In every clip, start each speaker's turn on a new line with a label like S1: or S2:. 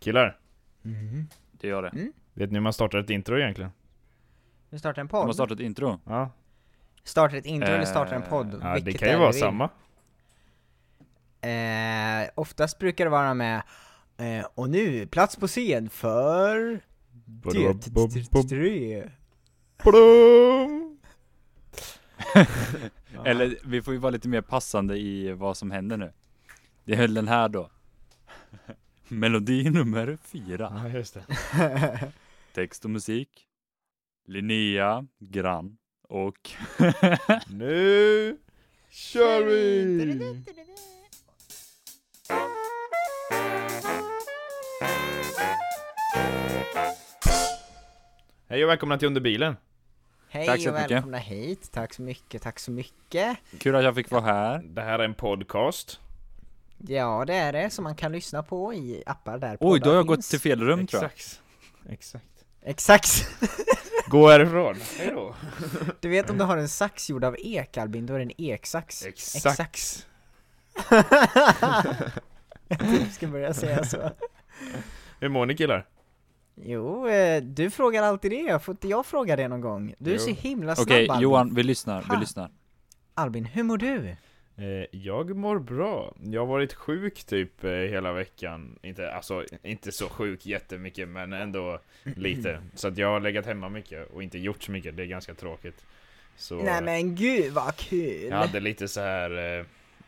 S1: Killar,
S2: Mhm.
S3: Det gör det.
S1: vet ni hur man startar ett intro egentligen?
S2: Vi startar en
S3: De
S2: podd.
S3: har startat ett intro.
S1: Ja,
S2: Startar ett intro eller startar en
S3: Eh,
S2: podd?
S1: ja det
S2: Vilket
S1: kan ju
S2: är
S1: vara
S2: vi?
S1: samma.
S2: Eh, oftast brukar det vara med eh, Och nu, plats på scen för... Det...
S1: Blum!
S3: Eller vi får ju vara lite mer passande i vad som händer nu. Det är väl den här då. Melodi nummer fyra.
S1: Ja, just det.
S3: Text och musik. Linnea Grann och
S1: Nu kör vi! Hej och välkomna till Under bilen.
S2: Hej
S3: Tack så
S2: och
S3: mycket.
S2: välkomna hit, tack så mycket, tack så mycket.
S3: kul att jag fick vara här.
S1: Det här är en podcast.
S2: Ja det är det, som man kan lyssna på i appar där
S3: Oj, då har jag
S2: poddar
S3: gått
S2: finns.
S3: till fel rum tror jag.
S1: Exakt. Exakt.
S2: Exakt!
S1: Gå härifrån. Hejdå.
S2: Du vet om du har en sax gjord av ek Albin, då är det en eksax.
S1: Exakt.
S2: Jag typ ska börja säga så.
S1: Hur mår ni killar?
S2: Jo, eh, du frågar alltid det, får inte jag fråga det någon gång? Du är
S1: Jo.
S2: så himla snabb
S3: Okej,
S2: Albin.
S3: Johan, vi lyssnar, vi
S2: Fan.
S3: lyssnar.
S2: Albin, hur mår du?
S1: Eh, Jag mår bra. Jag har varit sjuk typ eh, hela veckan. Inte, alltså, inte så sjuk jättemycket, men ändå lite. Så att jag har legat hemma mycket och inte gjort så mycket. Det är ganska tråkigt. Så
S2: Nej
S1: eh,
S2: men gud vad kul!
S1: jag hade lite så här eh,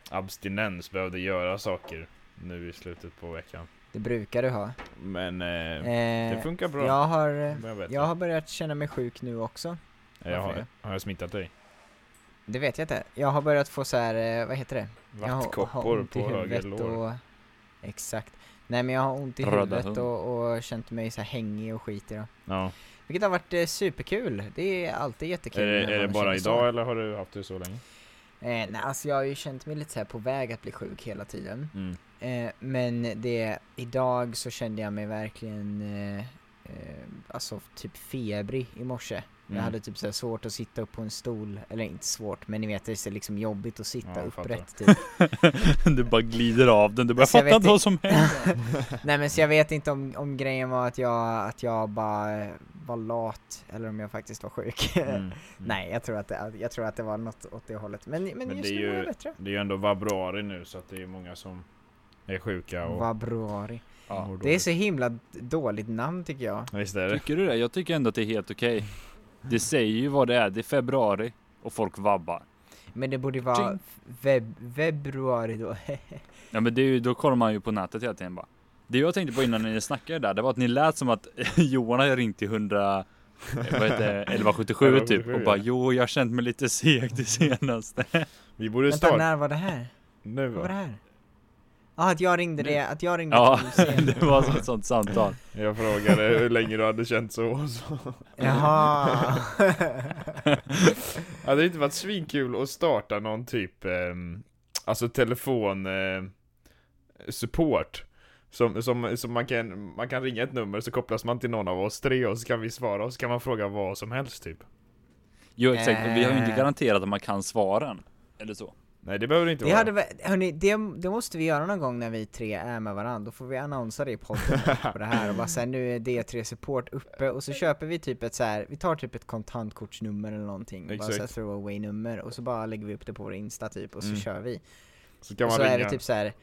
S1: abstinens, behövde göra saker nu i slutet på veckan.
S2: Det brukar du ha.
S1: Men eh, det
S2: Eh,
S1: funkar bra.
S2: jag har, eh,
S1: Det börjar bättre.
S2: jag har börjat känna mig sjuk nu också.
S1: Eh, jag
S2: varför
S1: har, har jag smittat dig?
S2: Det vet jag inte. Jag har börjat få så här, eh, vad heter det? Jag har- har
S1: Vattkoppor
S2: ont i
S1: på höger
S2: huvudet
S1: lår.
S2: och... Exakt. Nej men jag har ont i
S3: Röda
S2: huvudet
S3: hund.
S2: och, och känt mig så här hängig och skit idag.
S1: Ja.
S2: Vilket har varit eh, superkul. Det är alltid jättekul.
S1: Är
S2: när
S1: det, är det
S2: man
S1: bara
S2: känner så.
S1: idag eller har du haft det så länge?
S2: Eh, nej, alltså jag har ju känt mig lite så här på väg att bli sjuk hela tiden.
S1: Mm.
S2: Eh, men det, idag så kände jag mig verkligen, eh, eh, alltså typ febrig i morse.
S1: Mm.
S2: Jag hade typ så här svårt att sitta upp på en stol, eller inte svårt, men ni vet det är så liksom jobbigt att sitta
S1: Ja, jag fattar.
S2: upprätt typ.
S3: Du bara glider av den, du bara
S2: Alltså, jag vet
S3: fattar inte vad som händer.
S2: Nej men så jag vet inte om, om grejen var att jag, att jag bara eh, var lat, eller om jag faktiskt var sjuk.
S1: Mm.
S2: Nej, jag tror, att det, att- jag tror att det var något åt det hållet. Men, men,
S1: Men
S2: just
S1: det är
S2: nu mår
S1: ju-
S2: jag bättre.
S1: Det är ju ändå vabruari nu så att det är många som är sjuka och
S2: Vad bra det
S3: Ja.
S2: Det är så himla d- dåligt namn tycker jag.
S1: Visst är det?
S3: Tycker du det? Jag tycker ändå att det är helt okej. Det säger ju vad det är, det är februari och folk vabbar.
S2: Men det borde vara
S3: Jing.
S2: feb- februari då.
S3: Ja men det är ju, då kollar man ju på nätet hela tiden bara. Det jag tänkte på innan ni snackade där, det var att ni lät som att Johan hade ringt till 100, eh, vad heter det, 1177 typ och bara jo jag har känt mig lite seg det senaste.
S1: Vi borde
S2: Vänta,
S1: starta
S2: när var det här?
S1: nu
S2: Vad var det
S1: va?
S2: här? Ja, att jag ringde det, att jag ringde
S3: Ja,
S2: till scenen.
S3: det var som ett sånt samtal.
S1: Jag frågade hur länge du hade känt så och så.
S2: Jaha.
S1: Hade det inte varit svinkul att starta någon typ, ehm, alltså telefon eh, support? Som, som, som man, kan, man kan ringa ett nummer så kopplas man till någon av oss tre och så kan vi svara och så kan man fråga vad som helst typ.
S3: Jo exakt, och vi har
S2: Eh.
S3: ju inte
S2: garanterat
S3: garanterat att man kan svaren. Eller så.
S1: Nej det behöver det inte
S2: Vi
S1: vara.
S2: hade, vä- hörni, det, det måste vi göra någon gång när vi tre är med varandra, då får vi annonsera det i podden på det här och bara såhär, nu är D3 Support uppe och så köper vi typ ett såhär, vi tar typ ett kontantkortsnummer eller någonting, bara
S1: Exakt.
S2: såhär throwaway nummer och så bara lägger vi upp det på vår Insta typ och så
S1: Mm.
S2: kör vi.
S1: Så kan
S2: och
S1: man
S2: så är
S1: ringa.
S2: det typ så här.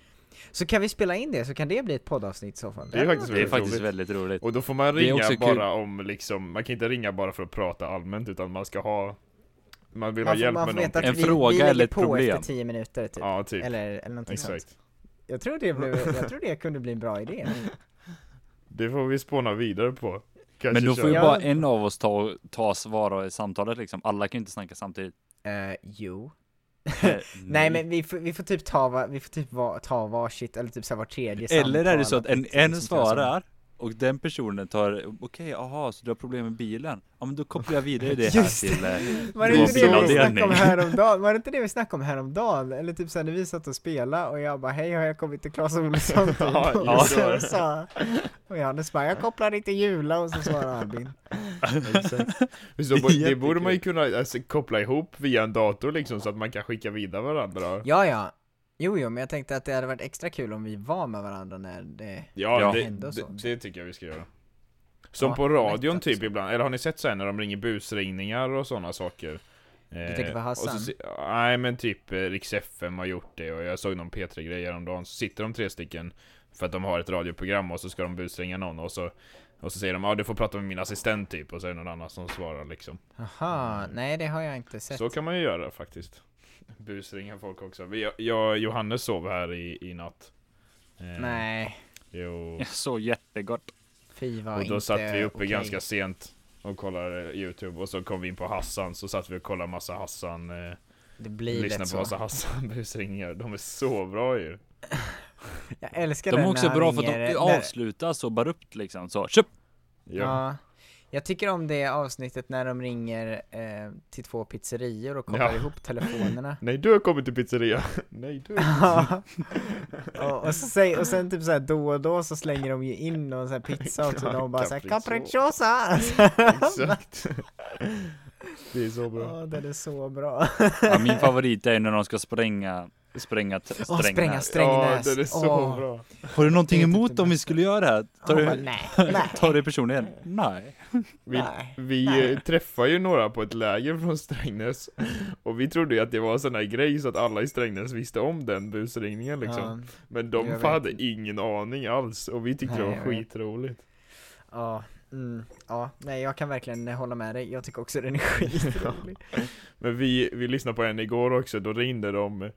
S2: Så kan vi spela in det, så kan det bli ett poddavsnitt i så fall.
S1: Det är faktiskt
S3: Det är
S1: väldigt
S3: faktiskt
S1: roligt.
S3: väldigt roligt.
S1: Och då får man
S3: Det är
S1: ringa
S3: också kul.
S1: bara om liksom, man kan inte ringa bara för att prata allmänt utan man ska ha Man vill
S2: Man
S1: ha
S2: får-
S1: hjälp
S2: man
S1: med
S2: får veta
S1: någonting
S2: att
S3: En
S2: vi,
S3: fråga
S2: vi lägger
S3: eller ett
S2: på
S3: problem.
S2: efter 10 minuter typ.
S1: Ja typ,
S2: Eller, eller någonting sånt.
S1: exakt
S2: Jag tror, det blev, jag tror det kunde bli en bra idé.
S1: Det får vi spåna vidare på Kanske
S3: Men då
S1: köra-
S3: får ju
S2: Ja.
S3: bara en av oss ta, ta svara i samtalet liksom. Alla kan ju inte snacka samtidigt.
S2: Eh, jo.
S3: Eh,
S2: Nej men vi får, vi får typ ta, va, vi får typ va, ta varsitt, eller typ så här var tredje
S3: Eller är det så att
S2: samtal.
S3: en, en
S2: sånt där som-
S3: svarar och den personen tar, okej, aha, så du har problem med bilen? Ja men då kopplar jag vidare det här
S2: Just det.
S3: till... eh,
S2: Var det
S1: Det var
S2: inte det vi snackade om
S3: bilavdelning.
S2: häromdagen? Var det inte det vi snackade om häromdagen? Eller typ såhär när vi satt och spelade och jag bara hej har jag kommit till Clas Ohlson? typ.
S1: Ja,
S2: och,
S3: ja,
S1: det var det.
S2: så, sa- och Johannes bara jag kopplar inte Jula och så svarar Albin.
S1: Exakt. Så bo- Det borde man ju kunna alltså, koppla ihop via en dator liksom så att man kan skicka vidare varandra
S2: Ja ja, Jo, jo, men jag tänkte att det hade varit extra kul om vi var med varandra när det...
S1: Ja,
S3: Ja.
S1: Det,
S2: Hände och
S1: det,
S2: så.
S1: det tycker jag vi ska göra. Som
S2: Ja,
S1: på radion
S2: rätt
S1: typ
S2: också.
S1: ibland, eller har ni sett så här när de ringer busringningar och sådana saker? Eh, Du
S2: tänker på Hassan?
S1: nej men typ eh, Rix FM har gjort det och jag såg någon P3-grej häromdagen, så sitter de tre stycken för att de har ett radioprogram och så ska de busringa någon och så och så säger de ja ah, du får prata med min assistent typ och så är det någon annan som svarar liksom.
S2: Aha, nej det har jag inte sett.
S1: Så kan man ju göra faktiskt. Busringa folk också. Vi- Jag, jag Johannes sov här i, i natt. Eh,
S2: Nej,
S1: Jo.
S3: Jag såg jättegott.
S2: fy vad
S1: Och då
S2: inte
S1: satt vi uppe
S2: okej.
S1: ganska sent och kollade youtube och så kom vi in på Hassan så satt vi och kollade massa Hassan eh,
S2: Det blir
S1: Lyssnade
S2: lätt
S1: på
S2: så.
S1: massa Hassan busringningar, de är så bra ju
S2: Jag älskar
S3: De
S2: det
S3: är också
S2: när han
S3: bra för att
S2: ringer,
S3: de
S2: när-
S3: avslutar så abrupt liksom. Så köp!
S1: Ja,
S2: Ja. Jag tycker om det avsnittet när de ringer eh, till två pizzerior och kopplar
S1: Ja.
S2: ihop telefonerna.
S1: Nej du har kommit till pizzeria, nej du
S2: Ja. och, och, så säg, och sen typ såhär då och då så slänger de ju in någon sån här pizza också, de bara såhär
S1: Capricciosa.
S2: capricciosa!
S1: Exakt Det är så bra
S2: Åh, den är så bra.
S3: Ja, min favorit är när de ska spränga Spränga t-
S2: Åh, spränga
S3: strängarna.
S1: Ja
S2: Strängnäs!
S1: den är så
S2: Åh.
S1: bra
S3: Har du någonting
S2: Det är typ
S3: emot
S2: det
S3: om vi skulle göra det här? Tar
S2: Åh,
S3: du,
S2: nej, nej.
S3: tar du personligen? Nej.
S1: Vi,
S2: Nej.
S1: vi
S2: Nej.
S1: eh, träffade ju några på ett läger från Strängnäs Och vi trodde ju att det var en sån här grej så att alla i Strängnäs visste om den busringningen liksom Men de
S2: Jag
S1: fan
S2: vet.
S1: hade ingen aning alls och vi tyckte
S2: Nej,
S1: det var
S2: jag vet.
S1: skitroligt.
S2: Ja, ja, mm, ja, nej jag kan verkligen hålla med dig, jag tycker också den är skitrolig.
S1: Men vi, vi lyssnade på en igår också, då ringde de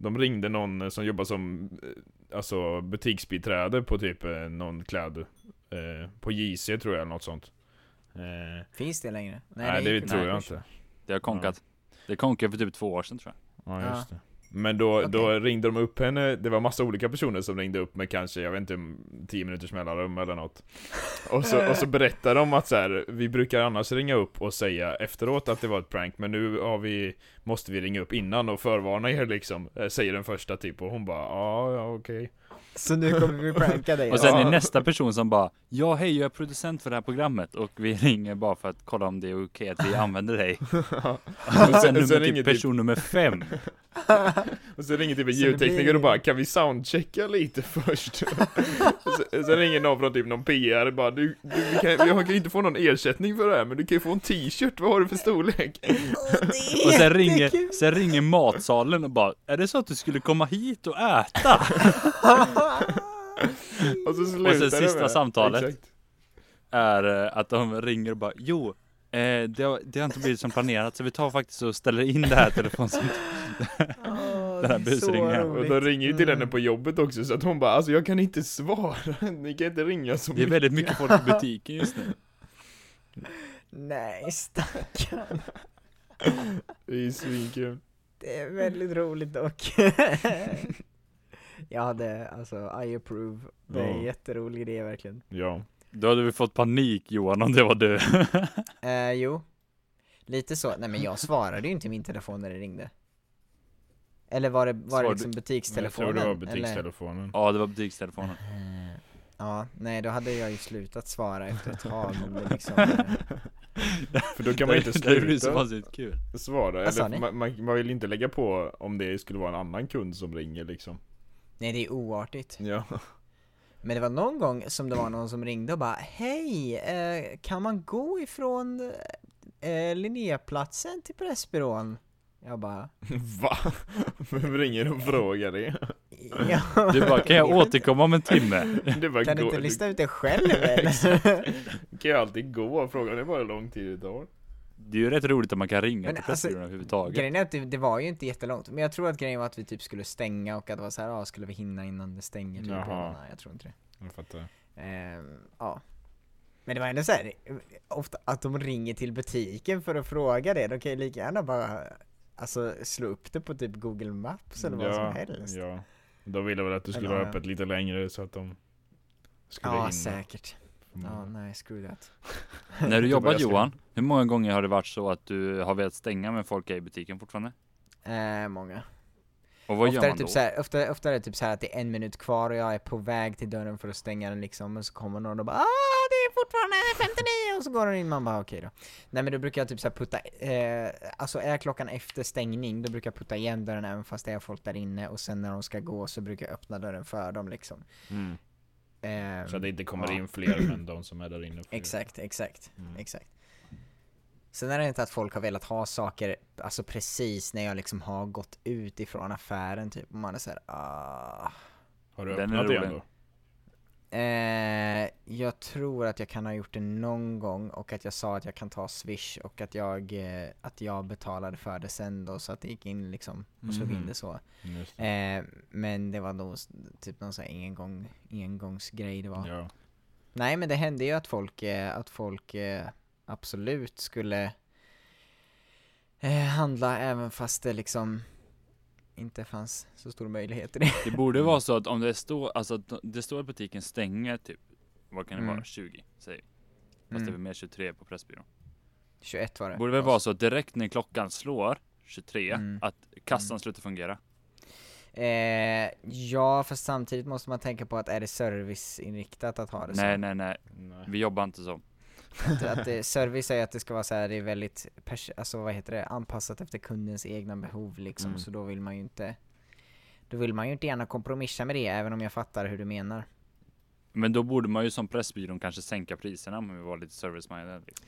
S1: De ringde någon som jobbar som eh, Alltså butiksbiträde på typ eh, någon kläd eh, På JC tror jag eller något sånt eh, Nej,
S2: Finns det längre?
S1: det,
S2: gick ju
S1: tror
S2: bort.
S1: jag inte
S3: Det har konkat. Det konkade för typ två år sedan tror jag.
S1: Ja
S2: Ja.
S1: just det men då, då
S2: Okej.
S1: ringde de upp henne, det var massa olika personer som ringde upp med kanske, jag vet inte, 10 minuters mellanrum eller något Och så, och så berättade de att så här, vi brukar annars ringa upp och säga efteråt att det var ett prank Men nu har vi, måste vi ringa upp innan och förvarna er liksom eh, Säger den första typ och hon bara ja, ja okej
S2: Så nu kommer vi pranka dig.
S3: Och sen
S2: ja.
S3: är nästa person som bara Ja hej jag är producent för det här programmet och vi ringer bara för att kolla om det är okej att vi använder dig. Och sen
S1: sen
S3: nummer
S1: ringer
S3: typ
S1: typ-
S3: person nummer fem.
S1: Och så ringer typ en
S2: Så det
S1: ljudtekniker
S2: blir-
S1: och bara kan vi soundchecka lite först? Och sen, sen ringer någon från typ någon PR och bara du, du vi kan, jag kan ju inte få någon ersättning för det här men du kan ju få en t-shirt, vad har du för storlek?
S3: Och sen ringer, sen ringer matsalen och bara Är det så att du skulle komma hit och äta?
S1: Och så slutar
S3: Och sen
S1: det
S3: sista
S1: med-
S3: samtalet.
S1: Exakt.
S3: Är eh, att de ringer och bara Jo eh, det, har, det har inte blivit som planerat så vi tar faktiskt och ställer in det här telefonsamtalet.
S2: Åh,
S3: Den här
S2: det är så
S3: busringen.
S1: Och
S2: roligt. Mm.
S1: de ringer ju till henne på jobbet också så att hon bara alltså jag kan inte svara, ni kan inte ringa så
S3: Det är
S1: mycket.
S3: väldigt mycket folk i butiken just nu.
S2: Mm. Nej, stackarn.
S1: Det är ju svinkul.
S2: Det är väldigt roligt dock. Jag hade, alltså, I approve. Det är en
S1: Ja.
S2: jätterolig idé verkligen.
S1: Ja.
S3: Då hade vi fått panik Johan om det var du.
S2: Eh, jo. Lite så, nej men jag svarade ju inte i min telefon när det ringde. Eller var det, var
S3: Svarade-
S2: det liksom butikstelefonen?
S1: Jag tror det var
S2: eller?
S1: butikstelefonen.
S3: Ja det var butikstelefonen.
S2: Eh, Ja, nej då hade jag ju slutat svara efter ett tag om det liksom eh,
S1: För då kan man ju inte
S3: Det är ju så
S1: sluta
S3: vansinnigt kul.
S1: svara.
S2: Vad sa
S1: Eller,
S2: ni?
S1: man, man, man vill inte lägga på om det skulle vara en annan kund som ringer liksom.
S2: Nej det är oartigt.
S1: Ja.
S2: Men det var någon gång som det var någon som ringde och bara Hej! Eh, kan man gå ifrån eh, Linnéplatsen till Pressbyrån? Jag bara
S1: Va? Vem ringer och frågar det?
S2: ja,
S3: Du bara, kan jag
S2: vet inte.
S3: återkomma om en timme?
S1: Det bara
S2: Kan du
S1: går-
S2: inte lista ut det själv eller?
S1: Du kan ju alltid gå och fråga, det är bara hur lång tid det tar.
S3: Det är ju rätt roligt att man kan ringa
S2: Men
S3: till
S2: alltså,
S3: Pressbyrån överhuvudtaget.
S2: grejen är att det, det var ju inte jättelångt, men jag tror att grejen var att vi typ skulle stänga och att det var så här, ja skulle vi hinna innan det stänger? Typ.
S1: Jaha.
S2: Nej jag tror inte det.
S1: Jag fattar.
S2: Ehm, ja. Men det var ändå såhär, ofta att de ringer till butiken för att fråga det, de kan ju lika gärna bara Alltså slå upp det på typ google maps eller vad som helst Ja,
S1: Ja. De ville väl att du skulle
S2: Eller,
S1: vara
S2: ja.
S1: öppet lite längre så att de skulle hinna.
S2: säkert Ja,
S1: Mm.
S2: nej screw that
S3: När du
S1: Då
S3: jobbat
S1: börjar jag
S3: Johan, hur många gånger har det varit så att du har velat stänga men folk är i butiken fortfarande?
S2: eh, Ehm, Många
S3: Och vad
S2: ofta,
S3: gör
S2: är det
S3: man då?
S2: typ så här, ofta, ofta är det typ så här att det är en minut kvar och jag är på väg till dörren för att stänga den liksom och så kommer någon och bara ah det är fortfarande 59 och så går den in man bara okej då. Nej men då brukar jag typ så här putta, eh, alltså är klockan efter stängning då brukar jag putta igen dörren även fast det är folk där inne och sen när de ska gå så brukar jag öppna dörren för dem liksom.
S3: mm.
S2: Ehm,
S1: Så att det inte kommer
S2: Ja.
S1: in fler än de som är där inne.
S2: Exakt, exakt,
S1: Mm.
S2: exakt. Sen är det inte att folk har velat ha saker, alltså precis när jag liksom har gått ut ifrån affären typ, och man är såhär ah.
S1: Har du
S3: Den är
S1: öppnat igen
S3: rolig.
S1: då?
S2: Eh, jag tror att jag kan ha gjort det någon gång och att jag sa att jag kan ta swish och att jag, eh, att jag betalade för det sen då så att det gick in liksom och slog in
S3: Mm.
S1: Mhm.
S2: det så.
S1: Just det.
S2: Eh, men det var nog s- typ någon sån här engång, engångsgrej det var.
S1: Ja.
S2: Nej men det hände ju att folk, eh, att folk eh, absolut skulle eh, handla även fast det liksom inte fanns så stor möjlighet till det.
S3: Det borde
S1: Mm.
S3: vara så att om det står, alltså att det står att butiken stänger typ, vad kan det
S2: Mm.
S3: vara, 20 säger vi. Fast det är väl
S2: Mm.
S3: mer 23 på Pressbyrån.
S2: 21 var det.
S3: Borde väl vara så att direkt när klockan slår 23,
S2: Mm.
S3: att kassan
S2: Mm.
S3: slutar fungera.
S2: Eh, ja fast samtidigt måste man tänka på att är det serviceinriktat att ha det
S3: Nej,
S2: så?
S3: nej, nej.
S1: Nej.
S3: Vi jobbar inte så.
S2: Att, att det, service är ju att det ska vara så här, det är väldigt, pers- alltså vad heter det, anpassat efter kundens egna behov liksom.
S3: Mm.
S2: Så då vill man ju inte, då vill man ju inte gärna kompromissa med det även om jag fattar hur du menar.
S3: Men då borde man ju som Pressbyrån kanske sänka priserna om vi var lite service-minded. Liksom.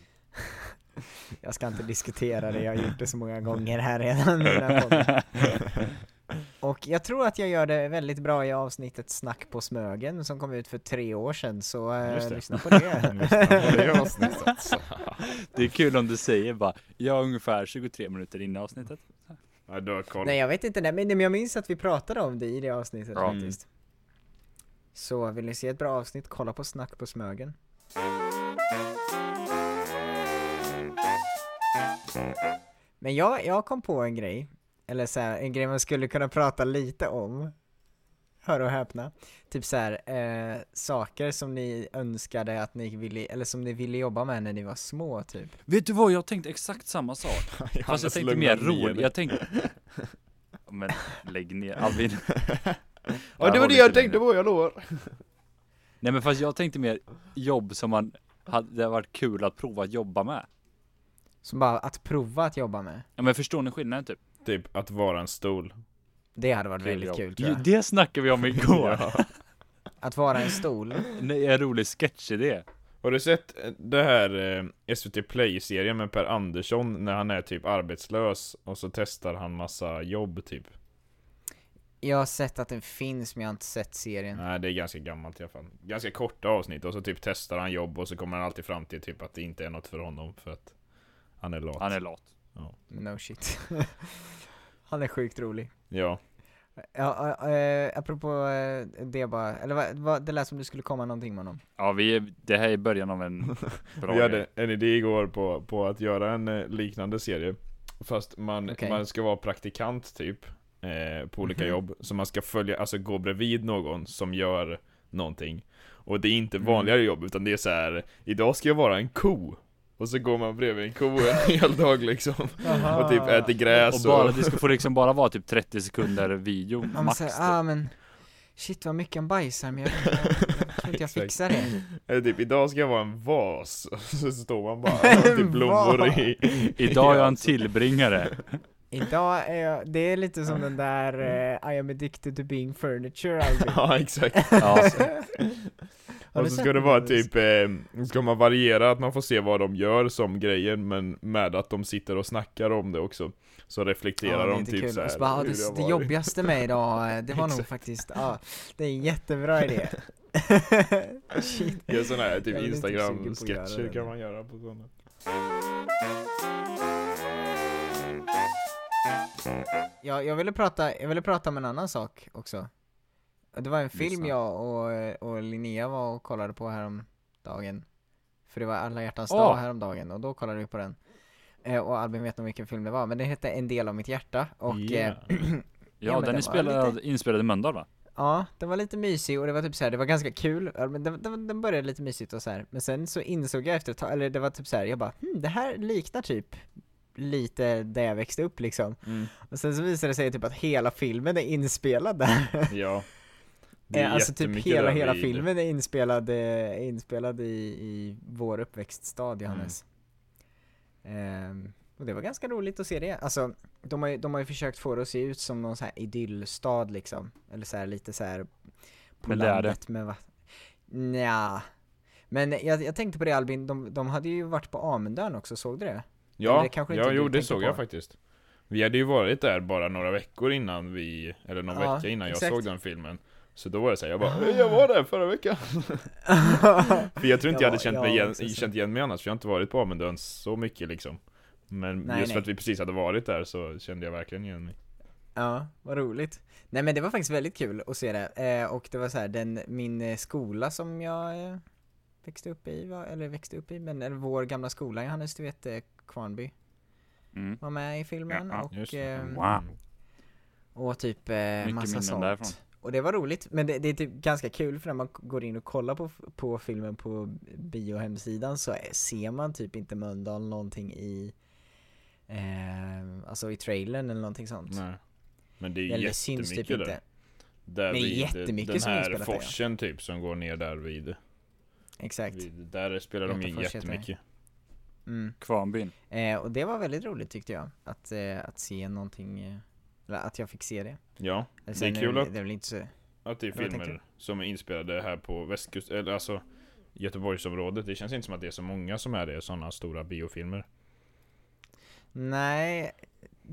S2: Jag ska inte diskutera det, jag har gjort det så många gånger här redan i den här podden. Och jag tror att jag gör det väldigt bra i avsnittet Snack på Smögen som kom ut för tre år sedan, så eh,
S1: Just det.
S2: lyssna på det.
S1: Lyssna på det avsnittet alltså.
S3: Det är kul om du säger bara, jag är ungefär 23 minuter innan avsnittet.
S1: Nej, du har koll.
S2: Nej jag vet inte, nej, men men jag minns att vi pratade om det i det avsnittet
S3: Ja.
S2: faktiskt. Så vill ni se ett bra avsnitt, kolla på Snack på Smögen. Men jag, jag kom på en grej, eller så här, en grej man skulle kunna prata lite om. Hör och häpna. Typ så här, eh, saker som ni önskade att ni ville, eller som ni ville jobba med när ni var små typ.
S3: Vet du vad, jag tänkte exakt samma sak. Fast jag
S1: Johannes,
S3: tänkte
S1: lugna
S3: mer
S1: ner
S3: roligt,
S1: dig.
S3: jag tänkte... Men lägg ner Alvin.
S1: Ja, det var det jag tänkte på, jag lovar.
S3: Nej men fast jag tänkte mer jobb som man hade, det hade varit kul att prova att jobba med.
S2: Som bara att prova att jobba med.
S3: Ja men förstår ni skillnaden typ?
S1: Typ att vara en stol.
S2: Det hade varit
S3: Kul
S2: väldigt
S3: jobb.
S2: kul tror
S3: Ju-
S2: jag.
S3: Det snackade vi om igår.
S2: Att vara en stol.
S3: Nej, en rolig sketchidé.
S1: Har du sett det här eh, SVT Play-serien med Per Andersson när han är typ arbetslös och så testar han massa jobb typ?
S2: Jag har sett att den finns men jag har inte sett
S3: Mm.
S2: serien.
S1: Nej, det är ganska gammalt i alla fall. Ganska korta avsnitt och så typ testar han jobb och så kommer han alltid fram till typ att det inte är något för honom för att han är lat.
S3: Han är lat.
S2: No shit. Han är sjukt rolig.
S1: Ja.
S2: Ja, ä- ä, apropå ä, det bara, eller vad, vad, det lät som du skulle komma någonting med honom.
S3: Ja vi är, det här är början av en bra
S1: Vi
S3: grej.
S1: hade en idé igår på, på att göra en eh, liknande serie. Fast man,
S2: Okej.
S1: man ska vara praktikant typ. Eh, på olika
S2: Mhm.
S1: jobb. Så man ska följa, alltså gå bredvid någon som gör någonting. Och det är inte
S2: Mm.
S1: vanliga jobb utan det är så här. Idag ska jag vara en ko. Och så går man bredvid en ko en hel dag liksom. Och typ
S2: Ah.
S1: äter gräs
S3: Och bara, det ska få liksom bara vara typ 30 sekunder video
S2: Man
S3: max.
S2: måste
S3: Typ.
S2: säga, ah Alltså- men shit vad mycket han bajsar men jag, jag, jag, tror inte jag
S1: Exakt.
S2: fixar det.
S1: Eller typ, idag ska jag vara en vas. Och så står man bara och har typ blommor i.
S3: Idag är jag en
S1: alltså.
S3: tillbringare.
S2: Idag är jag, det är lite som den där
S1: Mm.
S2: eh, I am addicted to being furniture Albin.
S1: Ja, exakt.
S3: Ja, så-
S2: Har du
S1: Och så
S2: sett
S1: ska det
S2: den,
S1: vara
S2: Linus?
S1: typ, eh, ska man variera att man får se vad de gör som grejen, men med att de sitter och snackar om det också. Så reflekterar
S2: det är
S1: de
S2: inte
S1: typ
S2: kul.
S1: så här,
S2: Och så bara, ah,
S1: hur
S2: det,
S1: har
S2: det
S1: varit.
S2: jobbigaste med idag, eh, det var nog
S1: Exakt.
S2: faktiskt, ja, det är en jättebra idé. Shit.
S1: Ja, sådana här typ
S2: Jag är lite sugen på att göra
S1: Instagram-sketcher
S2: det.
S1: kan man göra på sådana.
S2: Jag, jag, ville prata, jag ville prata om en annan sak också. Det var en film
S1: Lyssna.
S2: jag och, eh, och Linnea var och kollade på häromdagen. För det var alla hjärtans
S3: Åh!
S2: dag häromdagen och då kollade vi på den. Eh, och Albin vet nog vilken film det var, men den hette En del av mitt hjärta och eh,
S1: Yeah.
S3: ja,
S2: men
S3: den
S2: det var
S3: är spelad, inspelad i Mölndal va?
S2: Ja, den var lite mysig och det var typ så här, det var ganska kul, Ja, men den, den, den började lite mysigt och så här. men sen så insåg jag efter ett tag, eller det var typ så här, jag bara hm, det här "Hmm, liknar typ lite där jag växte upp liksom.
S1: Mm.
S2: Och sen så visade det sig typ att hela filmen är inspelad där.
S1: Ja.
S2: Eh, alltså typ
S1: jättemycket
S2: hela,
S1: där
S2: hela
S1: vid-
S2: filmen är inspelad, eh, inspelad i, i vår
S1: Mm.
S2: uppväxtstad Johannes. Ehm, och det var ganska roligt att se det. Alltså, de har ju, de har ju försökt få det att se ut som någon så här idyllstad liksom. Eller så här lite så här på
S3: Men det är det.
S2: landet med vatten. Nja. Men jag, jag tänkte på det Albin, de, de hade ju varit på Amundön också, såg du det?
S1: Ja,
S2: det kanske inte
S1: ja
S2: du
S1: jo det
S2: tänker
S1: såg
S2: på.
S1: jag faktiskt. Vi hade ju varit där bara några veckor innan vi, eller någon
S2: Ja,
S1: vecka innan
S2: exakt.
S1: jag såg den filmen. Så då var det såhär, jag bara "Ey, jag var där förra veckan! för jag tror inte jag,
S2: Ja,
S1: hade känt,
S2: ja,
S1: mig igen,
S2: också så.
S1: känt igen mig annars, för jag har inte varit på Amundön så mycket liksom. Men
S2: Nej,
S1: just
S2: nej.
S1: för att vi precis hade varit där så kände jag verkligen igen mig.
S2: Ja, vad roligt. Nej men det var faktiskt väldigt kul att se det. Eh, och det var så här, den, min eh, skola som jag eh, växte upp i, var, eller växte upp i, men eller vår gamla skola Johannes, du vet eh, Kvarnby
S3: Mm.
S2: var med i filmen
S3: Ja,
S1: Just
S2: och,
S1: det. Mm.
S2: eh,
S3: Wow.
S2: och typ eh,
S3: Mycket
S2: massa
S3: minnen
S2: sånt.
S3: därifrån.
S2: Och det var roligt, men det, det är typ ganska kul för när man k- går in och kollar på, f- på filmen på biohemsidan så är- ser man typ inte Mölndal någonting i, eh, alltså i trailern eller någonting sånt.
S1: Nej. Men det är
S2: Eller det syns typ
S1: jättemycket där.
S2: inte.
S1: där
S2: Men det är
S1: vid
S2: jättemycket
S1: den
S2: som är
S1: här
S2: inspelat där, ja.
S1: forsen typ som går ner där vid,
S2: Exakt.
S1: vid där spelar de in
S2: Götafors heter det.
S1: jättemycket.
S2: Mm.
S3: Kvarnbyn.
S2: Eh, och det var väldigt roligt tyckte jag, att, eh, att se någonting, eh, eller att jag fick se det.
S1: Ja,
S2: Eller
S1: det är
S2: sen
S1: kul
S2: väl-
S1: att
S2: Det är väl inte så...
S1: Att det är
S2: Eller vad tänkte
S1: filmer som är inspelade här på västkusten, eller alltså Göteborgsområdet. Det känns inte som att det är så många som är det, sådana stora biofilmer.
S2: Nej,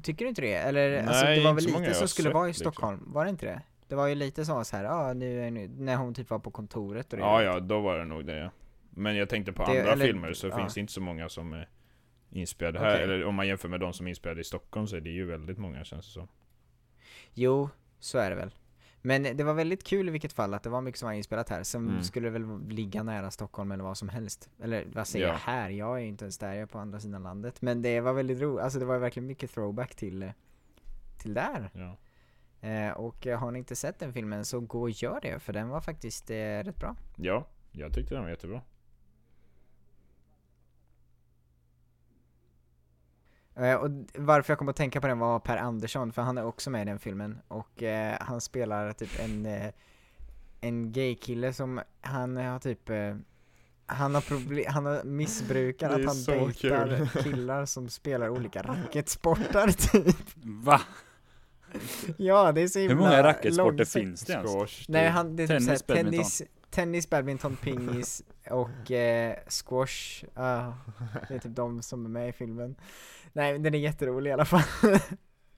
S2: tycker du inte det? Eller alltså,
S1: Nej,
S2: det var
S1: inte
S2: väl
S1: så många
S2: lite
S1: jag
S2: som
S1: har
S2: skulle
S1: sett,
S2: vara i
S1: liksom.
S2: Stockholm, var det inte det? Det var ju lite så så här, ja nu är nu, när hon typ var på kontoret och det.
S1: Ja, ja, då var det nog det. ja. Men jag tänkte på
S2: Det-
S1: andra
S2: eller-
S1: filmer så
S2: ja.
S1: finns det inte så många som är inspelade här.
S2: Okej.
S1: Eller om man jämför med de som är inspelade i Stockholm så är det ju väldigt många känns det som.
S2: Jo, så är det väl. Men det var väldigt kul i vilket fall att det var mycket som var inspelat här, sen
S1: Mm.
S2: skulle det väl ligga nära Stockholm eller vad som helst. Eller vad säger
S1: Ja.
S2: jag här? Jag är ju inte ens där, jag är på andra sidan landet. Men det var väldigt roligt, alltså det var verkligen mycket throwback till, eh, till där.
S1: Ja.
S2: Eh, och eh, har ni inte sett den filmen så gå och gör det, för den var faktiskt eh, rätt bra.
S1: ja, jag tyckte den var jättebra.
S2: Eh, och d- varför jag kom att tänka på den var Per Andersson, för han är också med i den filmen. Och eh, han spelar typ en, eh, en gay-kille som, han har typ eh, han har, proble- han har missbrukar
S1: Det
S2: att
S1: är
S2: han
S1: så
S2: dejtar killar som spelar olika racketsportar typ.
S3: Va?
S2: Ja, det är så
S3: Hur
S2: himla
S3: många racketsporter
S2: långsökt.
S3: finns det ens?
S1: Squash,
S2: Nej,
S1: typ.
S2: han, det är typ
S3: Tennis,
S2: såhär
S3: badminton.
S2: tennis, tennis, badminton, pingis och eh, squash. Ah, det är typ de som är med i filmen. Nej, men den är jätterolig i alla fall.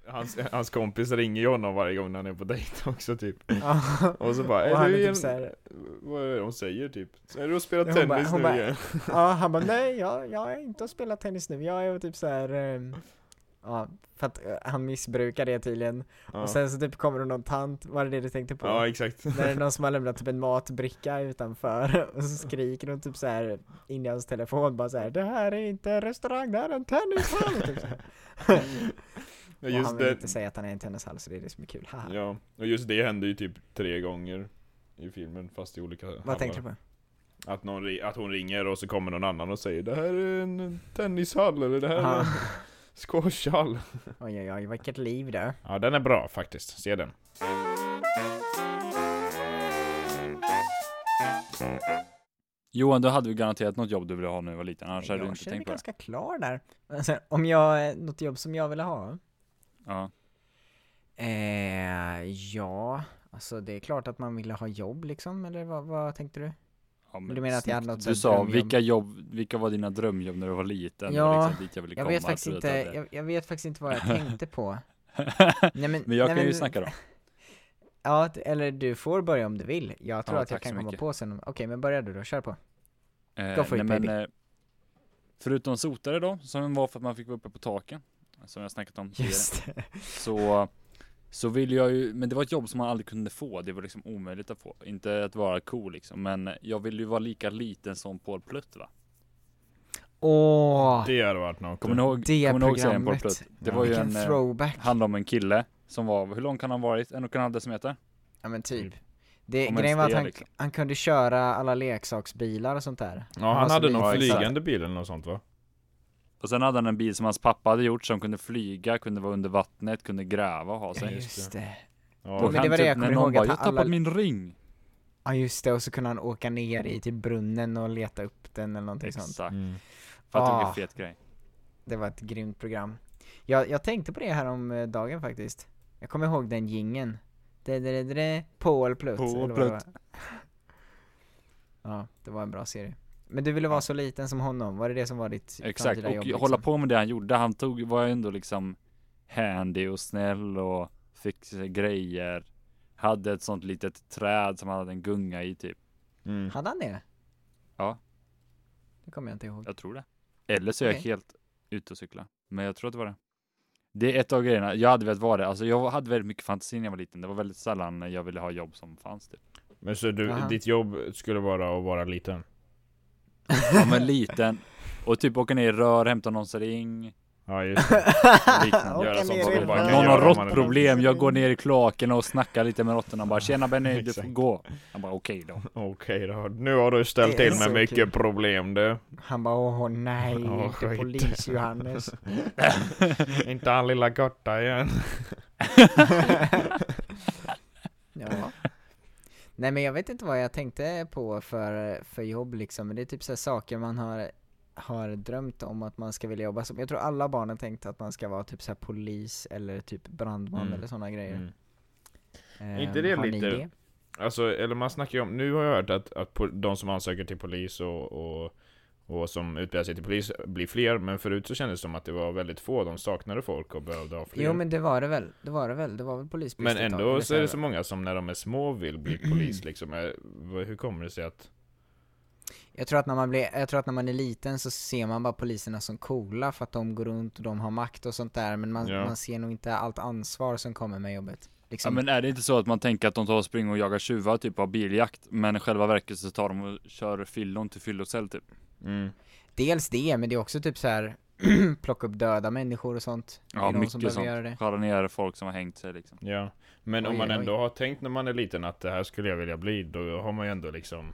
S1: hans, hans kompis ringer ju honom varje gång när han är på dejt också typ.
S2: Ja.
S1: Och så bara,
S2: Och
S1: är
S2: han
S1: du
S2: är
S1: igen?
S2: typ såhär,
S1: Vad är det de säger typ? Är du och spelar
S2: Hon bara-
S1: tennis
S2: hon
S1: nu
S2: bara-
S1: igen?
S2: ja han bara nej jag, jag är inte och spelar tennis nu, jag är typ såhär, ehm, ja för att eh, han missbrukar det tydligen.
S1: Ja.
S2: Och sen så typ kommer det någon tant, var det det du tänkte på?
S1: Ja exakt.
S2: När det är någon som har lämnat typ en matbricka utanför och så skriker hon typ så här in i hans telefon bara så här Det här är inte en restaurang, det här är en tennishall! typ så här.
S1: Ja,
S2: och
S1: just
S2: han vill
S1: det,
S2: inte säga att han är en tennishall så det är det som är kul, haha.
S1: ja, och just det hände ju typ tre gånger i filmen fast i olika
S2: Vad tänkte du på?
S1: på? Att, någon, ri- att hon ringer och så kommer någon annan och säger Det här är en tennishall eller det här är
S2: Ja.
S1: en squashhall
S2: Oj oj oj, vilket liv det
S1: Ja den är bra faktiskt, se den
S3: Johan, du hade ju garanterat något jobb du ville ha när du var liten, annars hade du
S2: Jag
S3: inte
S2: känner mig
S3: tänkt på det.
S2: ganska klar där. Alltså, om jag, något jobb som jag ville ha?
S3: Ja.
S2: Eh, ja, alltså det är klart att man ville ha jobb liksom, eller vad, vad tänkte du?
S3: Ja,
S2: Du menar att jag hade
S3: snyggt.
S2: något
S3: Du
S2: sånt
S3: sa,
S2: drömjobb?
S3: vilka jobb, vilka var dina drömjobb när du var liten? Det var
S2: Ja,
S3: liksom dit jag ville
S2: Jag
S3: komma.
S2: vet faktiskt
S3: så
S2: inte,
S3: vet jag
S2: jag, jag vet faktiskt inte vad jag tänkte på.
S3: det.
S2: Nej, men,
S3: Men jag
S2: nej,
S3: kan ju
S2: men-
S3: snacka då.
S2: Ja, t- eller du får börja om du vill. Jag tror
S3: Ja,
S2: att jag
S3: tack så
S2: kan komma
S3: mycket.
S2: på sen. om- Okej, men börja du då, kör på.
S3: Eh,
S2: Go for it,
S3: nej, men,
S2: baby.
S3: eh, förutom sotare då, som var för att man fick vara uppe på taken, som jag snackat om tidigare,
S2: Just det.
S3: så, så ville jag ju, men det var ett jobb som man aldrig kunde få, det var liksom omöjligt att få. Inte att vara cool liksom, men jag ville ju vara lika liten som Paul Plutt va?
S2: Åh!
S1: Det hade varit något
S3: Kommer ni ihåg,
S2: Det
S3: kommer ni ihåg serien Paul
S2: programmet.
S3: Plutt? Det
S1: Ja.
S3: var ju
S2: Vilken
S3: en, eh,
S2: throwback.
S3: handlade om en kille som var, hur lång kan han ha varit? En och en halv decimeter?
S2: Ja men typ.
S3: Mm.
S2: Det,
S3: Om ens
S2: grejen var att
S3: det,
S2: han,
S3: liksom.
S2: han kunde köra alla leksaksbilar och sånt där.
S1: Ja han
S2: Alltså, var så
S1: hade
S2: liten.
S1: någon
S3: Ja, exakt.
S1: flygande bil eller något sånt va?
S3: Och sen hade han en bil som hans pappa hade gjort som kunde flyga, kunde vara under vattnet, kunde gräva och ha
S2: Ja,
S3: sig.
S2: just det.
S1: Ja,
S3: Och
S2: Men det
S3: han typ
S2: var det jag
S3: när
S2: kommer
S3: någon
S2: ihåg
S3: bara,
S2: att
S3: jag
S2: alla-
S3: tappade min ring.
S2: Ja just det, och så kunde han åka ner i till brunnen och leta upp den eller någonting sånt.
S3: Exakt.
S1: mm.
S3: Fattar du
S2: Ah.
S3: vilken fet grej.
S2: Det var ett grymt program. Jag, jag tänkte på det här om eh, dagen faktiskt. Jag kommer ihåg den gingen. Paul Plutt.
S3: Paul
S2: eller vad det
S3: Plutt.
S2: var. Ja, det var en bra serie. Men du ville vara så liten som honom, var det det som var ditt
S3: Exakt,
S2: framtida
S3: och
S2: jobb? liksom?
S3: hålla på med det han gjorde. Han tog, var ju ändå liksom handy och snäll och fixade grejer. Hade ett sånt litet träd som han hade en gunga i typ.
S1: Mm.
S2: Hade han det?
S3: Ja.
S2: Det kommer jag inte ihåg.
S3: Jag tror det. Eller så är jag
S2: Okej.
S3: helt ute och cyklar. Men jag tror att det var det. Det är ett av grejerna. Jag hade velat vara det. Alltså jag hade väldigt mycket fantasi när jag var liten. Det var väldigt sällan jag ville ha jobb som fanns typ.
S1: Men så du,
S2: Aha.
S1: ditt jobb skulle vara att vara liten?
S3: Ja men liten. Och typ åka ner i rör, hämta någons ring.
S1: Ja just det.
S2: Åka
S1: göra sånt
S2: ner
S1: som
S2: i
S1: du bara kan
S2: rör.
S3: Någon har
S1: göra om man är
S3: råttproblem, jag går ner i kloakerna och snackar lite med råttorna. Bara tjena Benny, du får
S1: Exakt.
S3: gå. Han bara okej då.
S1: Okej då, nu har du ställt
S2: Det är
S1: till
S2: så
S1: med mycket
S2: kul.
S1: problem du.
S2: Han bara åh nej,
S1: Åh,
S2: inte
S1: skit.
S2: polis-Johannes.
S1: Inte han lilla Gotta igen.
S2: Ja. Nej men jag vet inte vad jag tänkte på för, för jobb liksom, men det är typ så här saker man har, har drömt om att man ska vilja jobba som. Jag tror alla barn har tänkt att man ska vara typ så här polis eller typ brandman
S1: Mm.
S2: eller sådana grejer.
S1: Mm.
S2: Ehm,
S1: Inte det
S2: har ni
S1: lite- Alltså, eller man snackar ju om, nu har jag hört att, att po- de som ansöker till polis och, och, och som utbildar sig till polis blir fler, men förut så kändes det som att det var väldigt få, de saknade folk och behövde ha fler.
S2: Jo men det var det väl, det var det väl, det var väl polisbrist
S1: Men
S2: ett tag,
S1: ändå så är det
S2: jag
S1: så
S2: väl.
S1: många som när de är små vill bli polis liksom. Eh, vad- Hur kommer det sig att...
S2: Jag tror att när man blir, jag tror att när man är liten så ser man bara poliserna som coola för att de går runt och de har makt och sånt där, men man,
S1: Ja.
S2: man ser nog inte allt ansvar som kommer med jobbet.
S3: Ja,
S2: Liksom,
S3: men är det inte så att man tänker att de tar och springer och jagar tjuvar typ av biljakt men i själva verket så tar de och kör fyllon till fyllocell typ?
S1: Mm.
S2: Dels det, men det är också typ så här plocka upp döda människor och sånt. Det är
S3: Ja,
S2: de som
S3: mycket
S2: behöver
S3: sånt.
S2: Göra det.
S3: Skära ner folk som har hängt sig liksom.
S1: Ja. Men om
S2: Oj,
S1: man
S2: oj.
S1: ändå har tänkt när man är liten att det här skulle jag vilja bli, då har man ju ändå liksom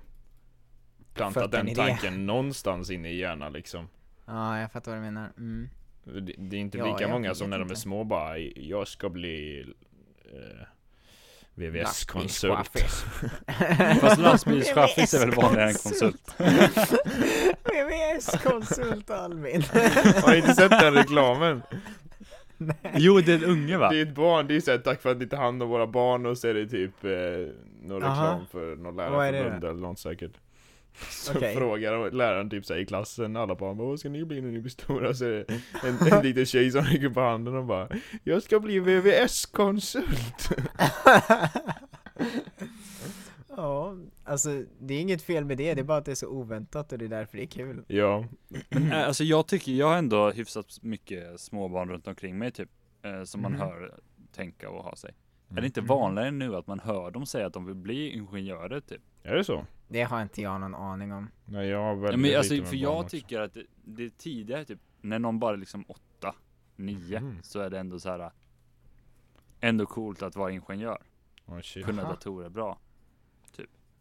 S1: plantat
S2: Fött en
S1: den
S2: idé.
S1: tanken någonstans inne i hjärnan liksom.
S2: Ja, jag fattar vad du menar. Mm.
S1: Det, det är inte
S2: Ja,
S1: lika
S2: jag
S1: många
S2: vet
S1: som när de är
S2: inte.
S1: små bara, jag ska bli eh, VVS-konsult.
S2: Lastbilschaffis.
S3: Mm. Fast lastbilschaffis är väl vanligare än konsult?
S2: VVS-konsult Albin.
S1: Har ni inte sett den reklamen?
S3: Jo, det är en unge va?
S1: Det är ett barn, det är ju såhär tack för att ni tar hand om våra barn och så är det typ eh, någon
S2: Aha.
S1: reklam för någon
S2: Vad är det
S1: lärarförbund
S2: då?
S1: eller något säkert. Så
S2: Okej.
S1: frågar läraren typ såhär i klassen, alla barn bara, vad ska ni bli när ni blir stora? Så är det en, en liten tjej som rycker på handen och bara, jag ska bli VVS-konsult!
S2: ja, alltså det är inget fel med det, det är bara att det är så oväntat och det är därför det är kul.
S1: Ja,
S3: Men, eh, alltså jag tycker, jag har ändå hyfsat mycket småbarn runt omkring mig typ. eh, Som man
S2: Mhm.
S3: hör tänka och ha sig. Är det inte
S1: Mm.
S3: vanligare nu att man hör dem säga att de vill bli ingenjörer typ?
S1: är det så?
S2: Det har inte jag någon aning om.
S1: Nej jag har
S3: Ja,
S1: väldigt
S3: men
S1: lite
S3: alltså,
S1: med
S3: för
S1: barn
S3: jag
S1: också.
S3: tycker att det, det är tidigare typ, när någon bara är liksom åtta, nio,
S1: Mhm.
S3: så är det ändå så här Ändå coolt att vara ingenjör,
S1: Åh, shit.
S3: kunna
S2: Aha.
S3: datorer bra.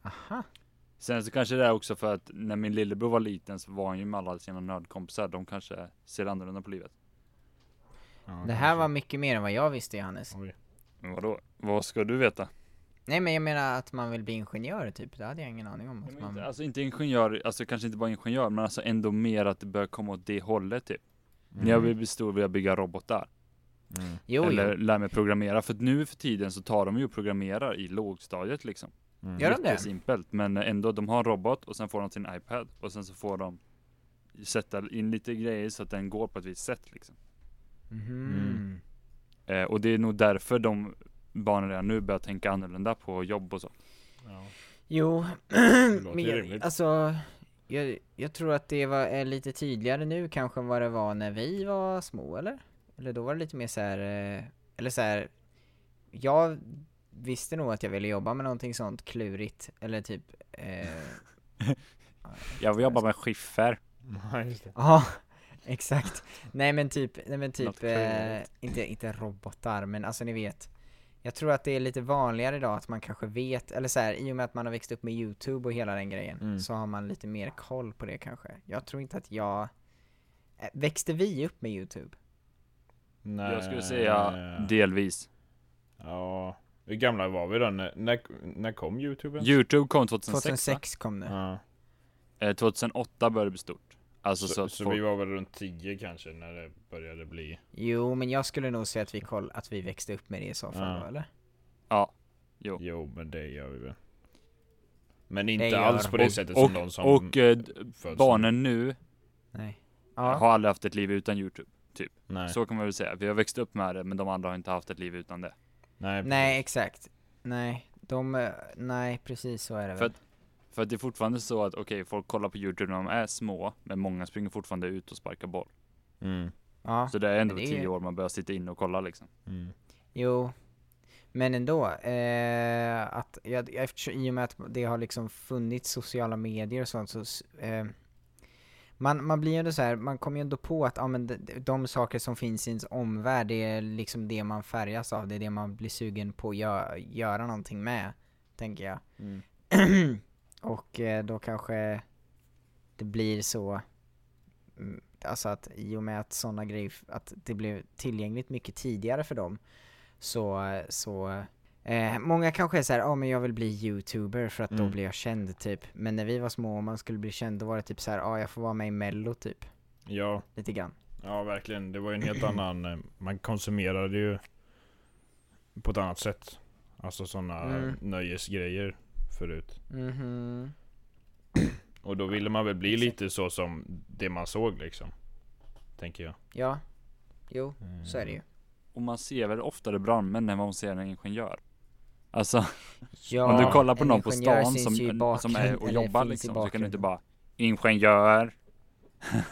S2: Aha.
S3: Sen så kanske det är också för att när min lillebror var liten så var han ju med alla sina nördkompisar, de kanske ser annorlunda på livet.
S1: Ja,
S2: Det här var mycket mer än vad jag visste Johannes.
S1: Oj.
S3: Men vadå? Vad ska du veta?
S2: Nej men jag menar att man vill bli ingenjör typ, det hade jag ingen aning om. Att man...
S3: Alltså inte ingenjör, alltså kanske inte bara ingenjör, men alltså ändå mer att det börjar komma åt det hållet typ. När jag blir stor vill jag bygga robotar.
S1: Mm.
S2: Jo, jo.
S3: eller lär mig programmera. För att nu för tiden så tar de ju och programmerar i lågstadiet liksom.
S1: Mm.
S2: Gör de det?
S3: Simpelt. Men ändå, de har en robot och sen får de sin iPad. Och sen så får de sätta in lite grejer så att den går på ett visst sätt liksom.
S1: Mm.
S2: Mhm.
S3: Eh, och det är nog därför de barnen redan nu börjar tänka annorlunda på jobb och så.
S1: Ja.
S2: Jo,
S1: låter
S2: men
S1: ju
S2: jag,
S1: rimligt.
S2: alltså jag, jag tror att det var, är lite tydligare nu kanske än vad det var när vi var små eller? Eller då var det lite mer så här, eh, eller så här. jag visste nog att jag ville jobba med någonting sånt klurigt, eller typ eh,
S3: Jag vill jobba med skiffer.
S1: Ja, just det.
S2: Ja, exakt. Nej men typ, nej men
S3: Något
S2: typ, eh,
S3: klurigt.
S2: inte, inte robotar men alltså ni vet. Jag tror att det är lite vanligare idag att man kanske vet, eller så här, i och med att man har växt upp med youtube och hela den grejen,
S1: Mm.
S2: så har man lite mer koll på det kanske. Jag tror inte att jag Eh, Växte vi upp med YouTube?
S1: Nej.
S3: Jag skulle säga
S1: Eh.
S3: delvis.
S1: Ja. Hur gamla var vi då? När, när, när kom Youtube? ens?
S3: Youtube kom 2006. 2006.
S2: 2006 kom nu.
S1: Ja.
S3: Eh, 2008 började det bli stort. Alltså
S1: Så,
S3: så,
S1: så,
S3: att folk...
S1: vi var väl runt 10 kanske när det började bli.
S2: Jo, men jag skulle nog säga att vi koll, att vi växte upp med det i så fall
S1: Ja.
S2: då, eller?
S3: Jo.
S1: Jo, men det gör vi väl. Men
S2: Det
S1: inte
S2: gör
S1: alls på
S2: vi.
S1: det sättet
S3: och,
S1: som någon som
S3: och eh, d-
S1: föds
S3: barnen nu
S2: Nej. Ja.
S3: har aldrig haft ett liv utan Youtube.
S1: Nej.
S3: Så kan man väl säga. Vi har växt upp med det, men de andra har inte haft ett liv utan det.
S1: Nej.
S2: Nej, exakt. Nej, de, eh, nej precis så är det
S3: För
S2: väl.
S3: att- För att det är fortfarande så att okej, folk kollar på Youtube när de är små, men många springer fortfarande ut och sparkar boll.
S1: Mm.
S2: Ja.
S3: Så det är ändå
S2: men det är ju-
S3: tio år man börjar sitta in och kolla liksom.
S1: Mm.
S2: Jo, men ändå. Eh, att jag, jag, eftersom- I och med att det har liksom funnits sociala medier och sånt så... s- Eh, man, man blir ju ändå så här, man kommer ju ändå på att ah, men de, de saker som finns i ens omvärld, det är liksom det man färgas av, det är det man blir sugen på att gö- göra någonting med, tänker jag.
S1: Mm.
S2: och eh, då kanske det blir så, mm, alltså att i och med att sådana grejer, att det blev tillgängligt mycket tidigare för dem, så, så eh, många kanske är såhär, ja men jag vill bli youtuber för att då
S1: Mm.
S2: blir jag känd typ. Men när vi var små och man skulle bli känd då var det typ såhär, ja jag får vara med i mello typ.
S1: Ja.
S2: Lite grann.
S1: Ja, verkligen. Det var ju en helt annan... eh, Man konsumerade ju på ett annat sätt. Alltså sådana
S2: Mm.
S1: nöjesgrejer förut.
S3: Mm-hmm.
S2: Mhm.
S1: Och då ville man väl bli
S2: Exakt.
S1: lite så som det man såg liksom. Tänker jag.
S2: Ja. Jo, så är det ju.
S3: Och man ser väl oftare brandmän än vad man ser en ingenjör. Alltså
S2: Ja,
S3: om du kollar på
S2: en
S3: någon på
S2: ingenjör
S3: stan
S2: syns
S3: som,
S2: ju i
S3: som
S2: bakgrunden,
S3: är och
S2: eller
S3: jobbar
S2: finns i
S3: liksom, så kan du inte
S2: bakgrunden.
S3: bara Ingenjör,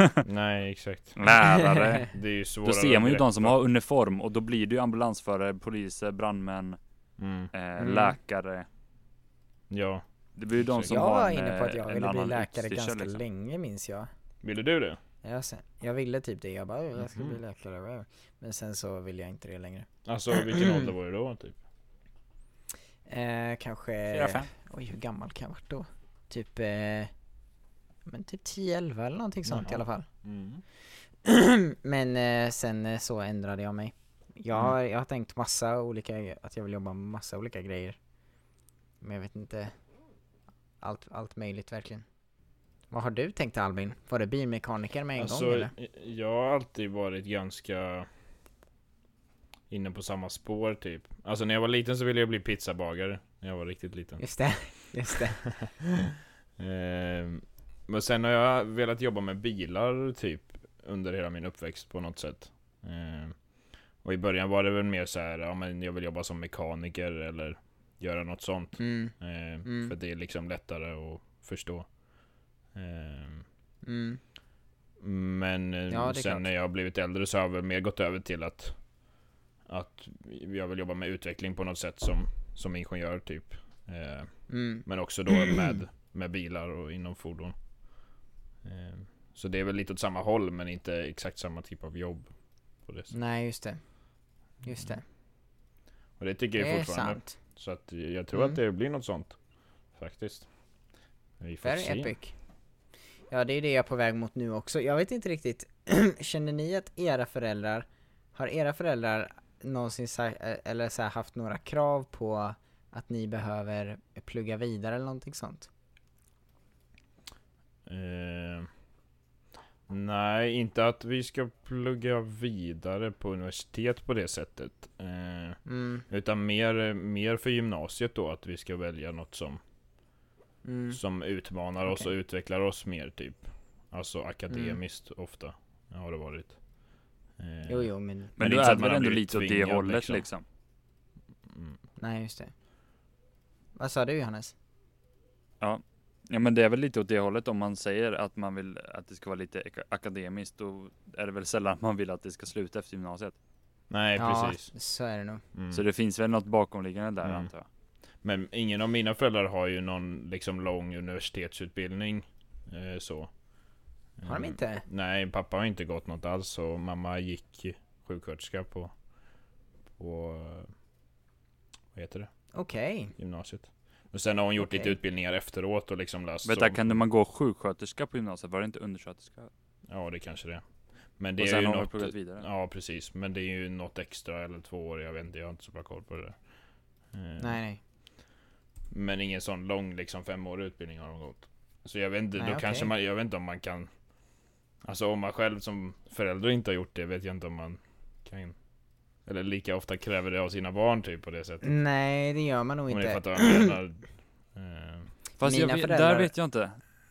S1: Mm. Nej, exakt.
S3: lärare.
S1: Det är ju svårare.
S3: Då ser man ju
S1: att
S3: de som
S1: berätta.
S3: har uniform och då blir det ju ambulansförare, poliser, brandmän,
S1: Mm.
S3: eh,
S2: Mm.
S3: läkare.
S1: Ja.
S3: Det blir ju de som
S2: Jag
S3: har
S2: var
S3: en,
S2: inne på att
S3: eh,
S2: jag
S3: en
S2: ville bli
S3: annan
S2: läkare
S3: utstyrsel,
S2: ganska
S3: liksom.
S2: länge minns jag.
S1: Ville du det?
S2: Jag, sen, jag ville typ det, jag bara "Åh, jag ska bli
S3: Mm-hmm.
S1: Mhm.
S2: läkare. wow." Men sen så vill jag inte det längre.
S1: Alltså vilken ålder var du då typ?
S2: Eh, kanske...
S3: Fyra, fem.
S2: Oj, hur gammal kan jag ha varit då? Typ... Eh, men typ 10-11 eller någonting sånt i
S3: Mm-hmm.
S1: Jaha.
S2: alla fall.
S1: Mm.
S2: men eh, sen eh, så ändrade jag mig. Jag har,
S3: Mm-hmm.
S2: jag har tänkt massa olika, att jag vill jobba med massa olika grejer. Men jag vet inte. Allt, allt möjligt verkligen. Vad har du tänkt Albin? Var det bilmekaniker med en gång
S1: Alltså,
S2: eller?
S1: jag har alltid varit ganska inne på samma spår typ. Alltså när jag var liten så ville jag bli pizzabagare. När jag var riktigt liten.
S2: Just det, just det.
S1: Ehm, Men sen har jag velat jobba med bilar typ under hela min uppväxt på något sätt. Ehm, Och i början var det väl mer så här, ja men jag vill jobba som mekaniker eller göra något sånt.
S2: Mm,
S1: Ehm,
S2: Mm.
S1: För det är liksom lättare att förstå. Ehm,
S2: mm,
S1: Men eh,
S2: Ja, det är
S1: sen
S2: klart.
S1: när jag har blivit äldre så har jag väl mer gått över till att Att jag vill jobba med utveckling på något sätt som, som ingenjör typ. Ehm,
S2: mm.
S1: men också då med, med bilar och inom fordon. Ehm, Så det är väl lite åt samma håll men inte exakt samma typ av jobb. På det. sättet.
S2: Nej just det. Just det.
S1: Och det tycker
S2: Det
S1: jag
S2: är
S1: fortfarande.
S2: sant.
S1: Så att eh, jag tror att
S2: Mm.
S1: det blir något sånt. Faktiskt. Vi får
S2: Very
S1: se.
S2: epic. Ja, det är det jag är på väg mot nu också. Jag vet inte riktigt, känner ni att era föräldrar, har era föräldrar någonsin sa- eh, eller så här haft några krav på att ni behöver plugga vidare eller någonting sånt?
S1: Ehm, nej, inte att vi ska plugga vidare på universitet på det sättet. Ehm,
S2: Mm,
S1: utan mer, mer för gymnasiet då, att vi ska välja något som
S2: mm,
S1: Som utmanar oss och
S2: Okej.
S1: utvecklar oss mer typ Alltså akademiskt ofta Har det varit Eh,
S2: jo jo men,
S3: Men,
S1: det är
S3: du
S1: inte så att
S3: är
S1: man
S3: väl
S1: har
S3: ändå
S1: blivit
S3: lite åt det
S1: tvingad,
S3: hållet
S1: liksom.
S3: liksom.
S1: mm.
S2: nej just det. Vad sa du Johannes?
S3: Ja men det är väl lite åt det hållet om man säger att man vill att det ska vara lite ek- akademiskt då är det väl sällan man vill att det ska sluta efter gymnasiet.
S1: Nej
S2: ja,
S1: precis
S2: så är det nog.
S1: mm.
S3: Så det finns väl något bakomliggande där
S1: Mm.
S3: antar jag.
S1: Men ingen av mina föräldrar har ju någon liksom lång universitetsutbildning eh, Så
S2: Har de
S1: Eh,
S2: inte?
S1: Nej pappa har inte gått något alls och mamma gick sjuksköterska på På eh, Vad heter det?
S2: Okej.
S1: Mm. Gymnasiet Och sen har hon gjort lite
S2: Okej.
S1: utbildningar efteråt och liksom läst
S3: Vänta
S1: så-
S3: kan man gå sjuksköterska på gymnasiet? Var det inte undersköterska?
S1: Ja det kanske det är. Men det
S3: Och
S1: är
S3: sen
S1: ju
S3: har vi
S1: något...
S3: pluggat vidare.
S1: Ja precis, men det är ju något extra eller två år, jag vet inte, jag har inte så bra koll på det där. Eh,
S2: Nej nej.
S1: Men ingen sån lång liksom femårig utbildning har de gått. Så jag vet inte,
S2: Nej,
S1: då
S2: okej.
S1: kanske man, jag vet inte om man kan... Alltså om man själv som förälder inte har gjort det, vet jag inte om man kan... Eller lika ofta kräver det av sina barn typ på det sättet.
S2: Nej det gör man Mm, nog
S1: Om ni
S2: inte.
S1: fattar vad jag menar. Eh,
S3: Fast jag
S2: Mina
S3: vet,
S2: föräldrar-
S3: där vet jag inte.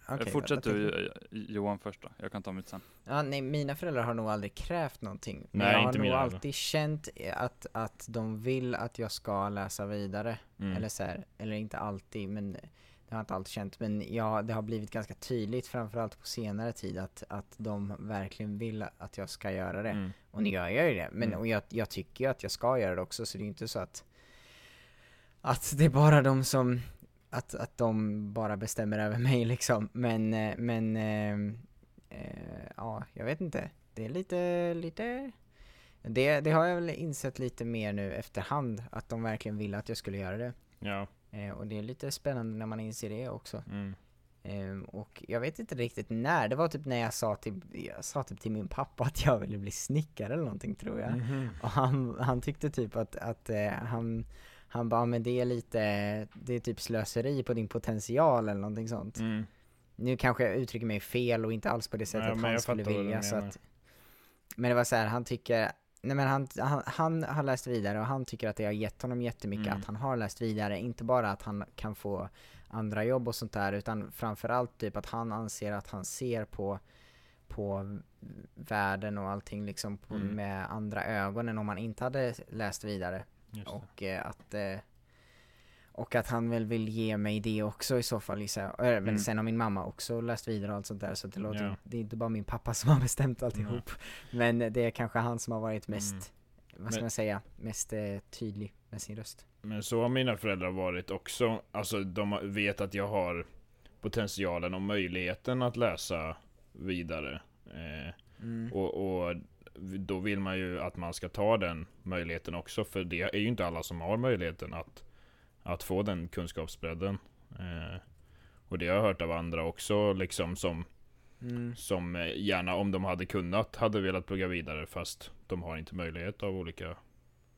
S2: Okej,
S3: Fortsätt
S2: vad- vad tänker
S3: du eh, Johan först då. Jag kan ta mitt sen.
S2: Ja, nej, mina föräldrar har nog aldrig krävt någonting. Men
S1: Nej,
S2: jag har
S1: inte
S2: nog
S1: mina heller.
S2: alltid känt att, att de vill att jag ska läsa vidare.
S1: Mm.
S2: Eller så här, eller inte alltid, men det har jag inte alltid känt. Men ja, det har blivit ganska tydligt, framförallt på senare tid, att, att de verkligen vill att jag ska göra det.
S1: Mm.
S2: Och nu gör jag ju det. Men
S1: Mm.
S2: och jag, jag tycker ju att jag ska göra det också, så det är ju inte så att att det är bara de som att, att de bara bestämmer över mig liksom. Men, eh, men ehm, eh, ja, jag vet inte. Det är lite, lite det, det har jag väl insett lite mer nu efterhand, att de verkligen ville att jag skulle göra det.
S1: Ja.
S2: Eh, och det är lite spännande när man inser det också.
S1: Mm.
S2: Ehm, och jag vet inte riktigt när, det var typ när jag sa till, jag sa typ till min pappa att jag ville bli snickare eller någonting tror
S1: Mm.
S2: jag. Och han, han tyckte typ att, att eh, han, han bara, men det är lite, det är typ slöseri på din potential eller någonting sånt.
S1: Mm.
S2: Nu kanske jag uttrycker mig fel och inte alls på det
S1: Nej,
S2: sättet
S1: men
S2: han
S1: jag
S2: skulle
S1: fattar vad du
S2: vilja så
S1: menar.
S2: att Men det var så här, han tycker Nej men han, han, han har läst vidare och han tycker att det har gett honom jättemycket
S1: Mm.
S2: att han har läst vidare, inte bara att han kan få andra jobb och sånt där utan framförallt typ att han anser att han ser på, på världen och allting liksom på,
S1: Mm.
S2: med andra ögon än om han inte hade läst vidare.
S1: Just det.
S2: Och eh, att eh, Och att han väl vill ge mig det också i så fall gissar jag. Äh, Men
S1: Mm.
S2: sen har min mamma också läst vidare och allt sånt där så det låter
S1: Ja.
S2: Det är inte bara min pappa som har bestämt alltihop Men det är kanske han som har varit mest
S1: Mm.
S2: Vad ska
S1: Men-
S2: man säga? Mest eh, tydlig med sin röst
S1: Men så har mina föräldrar varit också. Alltså de har- vet att jag har potentialen och möjligheten att läsa vidare. Eh,
S2: mm.
S1: och, och då vill man ju att man ska ta den möjligheten också. För det är ju inte alla som har möjligheten att, att få den kunskapsbredden. Eh, och det har jag hört av andra också. Liksom som,
S2: Mm.
S1: som eh, gärna om de hade kunnat hade velat plugga vidare. Fast de har inte möjlighet av olika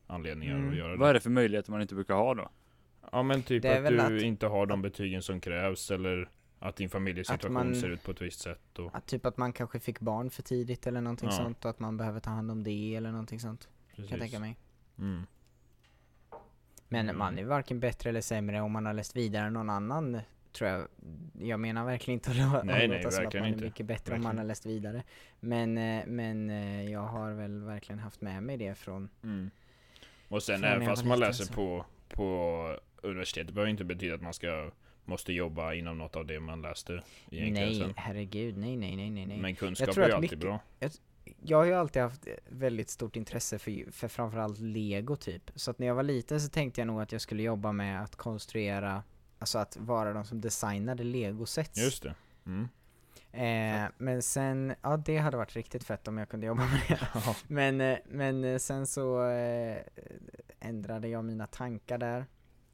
S1: anledningar
S2: Mm.
S1: att göra det.
S3: Vad är det för möjligheter man inte brukar ha då?
S1: Ja men typ
S2: Det är
S1: att
S2: väl
S1: du
S2: att-
S1: inte har de betygen som krävs eller att din familjesituation
S2: Att man-
S1: ser ut på ett visst sätt och...
S2: Att typ att man kanske fick barn för tidigt eller någonting
S1: Ja.
S2: sånt och att man behöver ta hand om det eller någonting sånt
S1: Precis.
S2: Kan jag tänka mig
S1: Mm.
S2: Men
S1: Mm.
S2: man är varken bättre eller sämre om man har läst vidare än någon annan tror jag. Jag menar verkligen inte att lå- att
S1: nej,
S2: låta som att
S1: verkligen
S2: man
S1: inte.
S2: är mycket bättre om man
S1: Verkligen.
S2: har läst vidare. Men, eh, men eh, jag har väl verkligen haft med mig det från...
S1: Mm. Och sen
S2: Fan,
S1: även
S2: jag
S1: fast
S2: var
S1: man
S2: liten,
S1: läser
S2: så.
S1: på, på universitetet behöver inte betyda att man ska måste jobba inom något av det man läste egentligen
S2: Nej,
S1: sen.
S2: herregud, nej, nej, nej, nej, nej.
S1: Men kunskap är
S2: tror
S1: ju
S2: att
S1: alltid
S2: mycket-
S1: bra.
S2: Jag har ju alltid haft eh, väldigt stort intresse för, ju- för framförallt lego typ. Så att när jag var liten så tänkte jag nog att jag skulle jobba med att konstruera, alltså att vara de som designade legosets.
S1: Just det. Mm.
S2: Eh, men sen, ja det hade varit riktigt fett om jag kunde jobba med det. Men, eh, men eh, sen så eh, ändrade jag mina tankar där.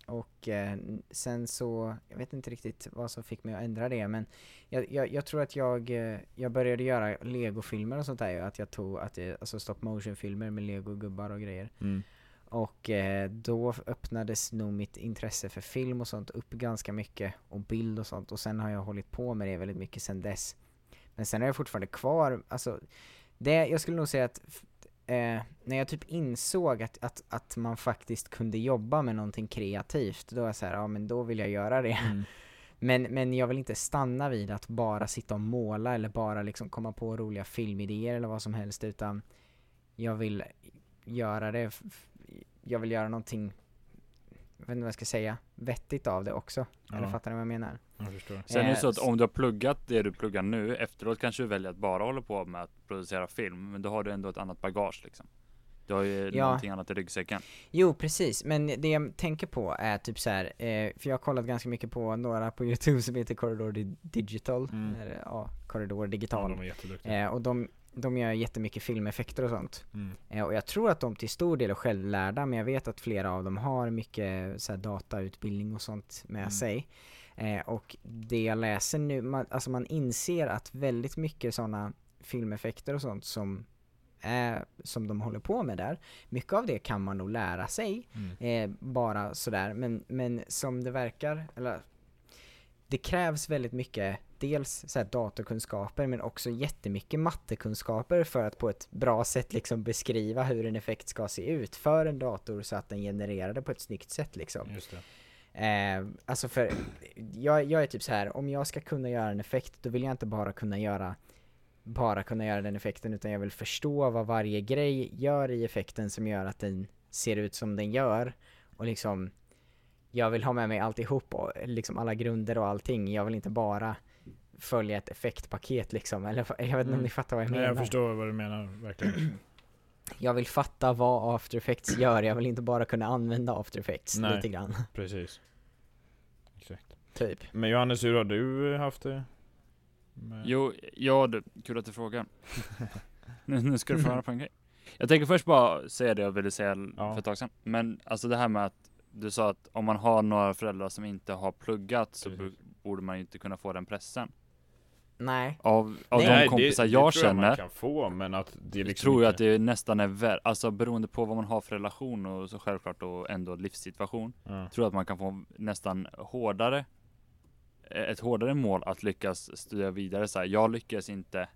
S2: Och eh, n- sen så, jag vet inte riktigt vad som fick mig att ändra det men jag, jag, jag tror att jag, eh, jag började göra legofilmer och sånt där ju, att jag tog, att det, alltså stop motion filmer med legogubbar och grejer.
S1: Mm.
S2: Och eh, då öppnades nog mitt intresse för film och sånt upp ganska mycket och bild och sånt och sen har jag hållit på med det väldigt mycket sen dess. Men sen har jag fortfarande kvar, alltså det, jag skulle nog säga att f- eh, när jag typ insåg att, att, att man faktiskt kunde jobba med någonting kreativt, då var jag så här, ja men då vill jag göra det. Men, men jag vill inte stanna vid att bara sitta och måla eller bara liksom komma på roliga filmidéer eller vad som helst utan jag vill göra det, f- f- jag vill göra någonting, jag vet inte vad jag ska säga, vettigt av det också. Eller
S1: Ja.
S2: fattar ni vad jag menar?
S1: Jag förstår.
S3: Sen är det
S2: Eh,
S3: så att
S2: s-
S3: om du har pluggat det du pluggar nu, efteråt kanske du väljer att bara hålla på med att producera film, men då har du ändå ett annat bagage liksom. Du har ju
S2: Ja.
S3: någonting annat i ryggsäcken.
S2: Jo precis, men det jag tänker på är typ så här, eh, för jag har kollat ganska mycket på några på youtube som heter Corridor Di- Digital,
S1: Mm.
S2: eller ja, Corridor
S1: Ja,
S2: Digital.
S1: de är jätteduktiga.
S2: Eh, och de, de gör jättemycket filmeffekter och sånt.
S1: Mm.
S2: Eh, och jag tror att de till stor del är självlärda, men jag vet att flera av dem har mycket så här, datautbildning och sånt med
S1: Mm.
S2: sig. Eh, och det jag läser nu, man, alltså man inser att väldigt mycket sådana filmeffekter och sånt som eh, som de håller på med där. Mycket av det kan man nog lära sig,
S1: Mm.
S2: eh, bara sådär. Men, men som det verkar, eller det krävs väldigt mycket, dels så här datorkunskaper men också jättemycket mattekunskaper för att på ett bra sätt liksom beskriva hur en effekt ska se ut för en dator så att den genererar det på ett snyggt sätt liksom.
S4: Just det.
S2: Eh, alltså för, jag, jag är typ så här om jag ska kunna göra en effekt då vill jag inte bara kunna göra bara kunna göra den effekten utan jag vill förstå vad varje grej gör i effekten som gör att den ser ut som den gör och liksom jag vill ha med mig alltihop och liksom alla grunder och allting. Jag vill inte bara följa ett effektpaket liksom eller jag vet inte om
S4: Mm.
S2: ni fattar vad jag
S4: Nej,
S2: menar.
S4: jag förstår vad du menar verkligen.
S2: Jag vill fatta vad after effects gör. Jag vill inte bara kunna använda after effects
S4: Nej.
S2: lite grann
S4: Precis. Exakt.
S2: typ.
S4: Men Johannes, hur har du haft det? Med-
S3: Jo, ja du, kul att du frågar. nu, nu ska du få höra på en grej. Jag tänker först bara säga det jag ville säga
S4: Ja.
S3: för ett tag sedan. Men alltså det här med att du sa att om man har några föräldrar som inte har pluggat så
S4: Precis.
S3: bu- borde man ju inte kunna få den pressen.
S2: Nej.
S3: Av, av
S2: Nej,
S3: de kompisar
S4: det,
S3: jag,
S4: det tror
S3: känner
S4: man kan få, men att det är liksom
S3: tror jag att
S4: inte-
S3: det nästan är värre. Alltså beroende på vad man har för relation och så självklart och ändå livssituation.
S4: Ja.
S3: Tror jag att man kan få nästan hårdare ett hårdare mål att lyckas studera vidare så här, jag lyckas inte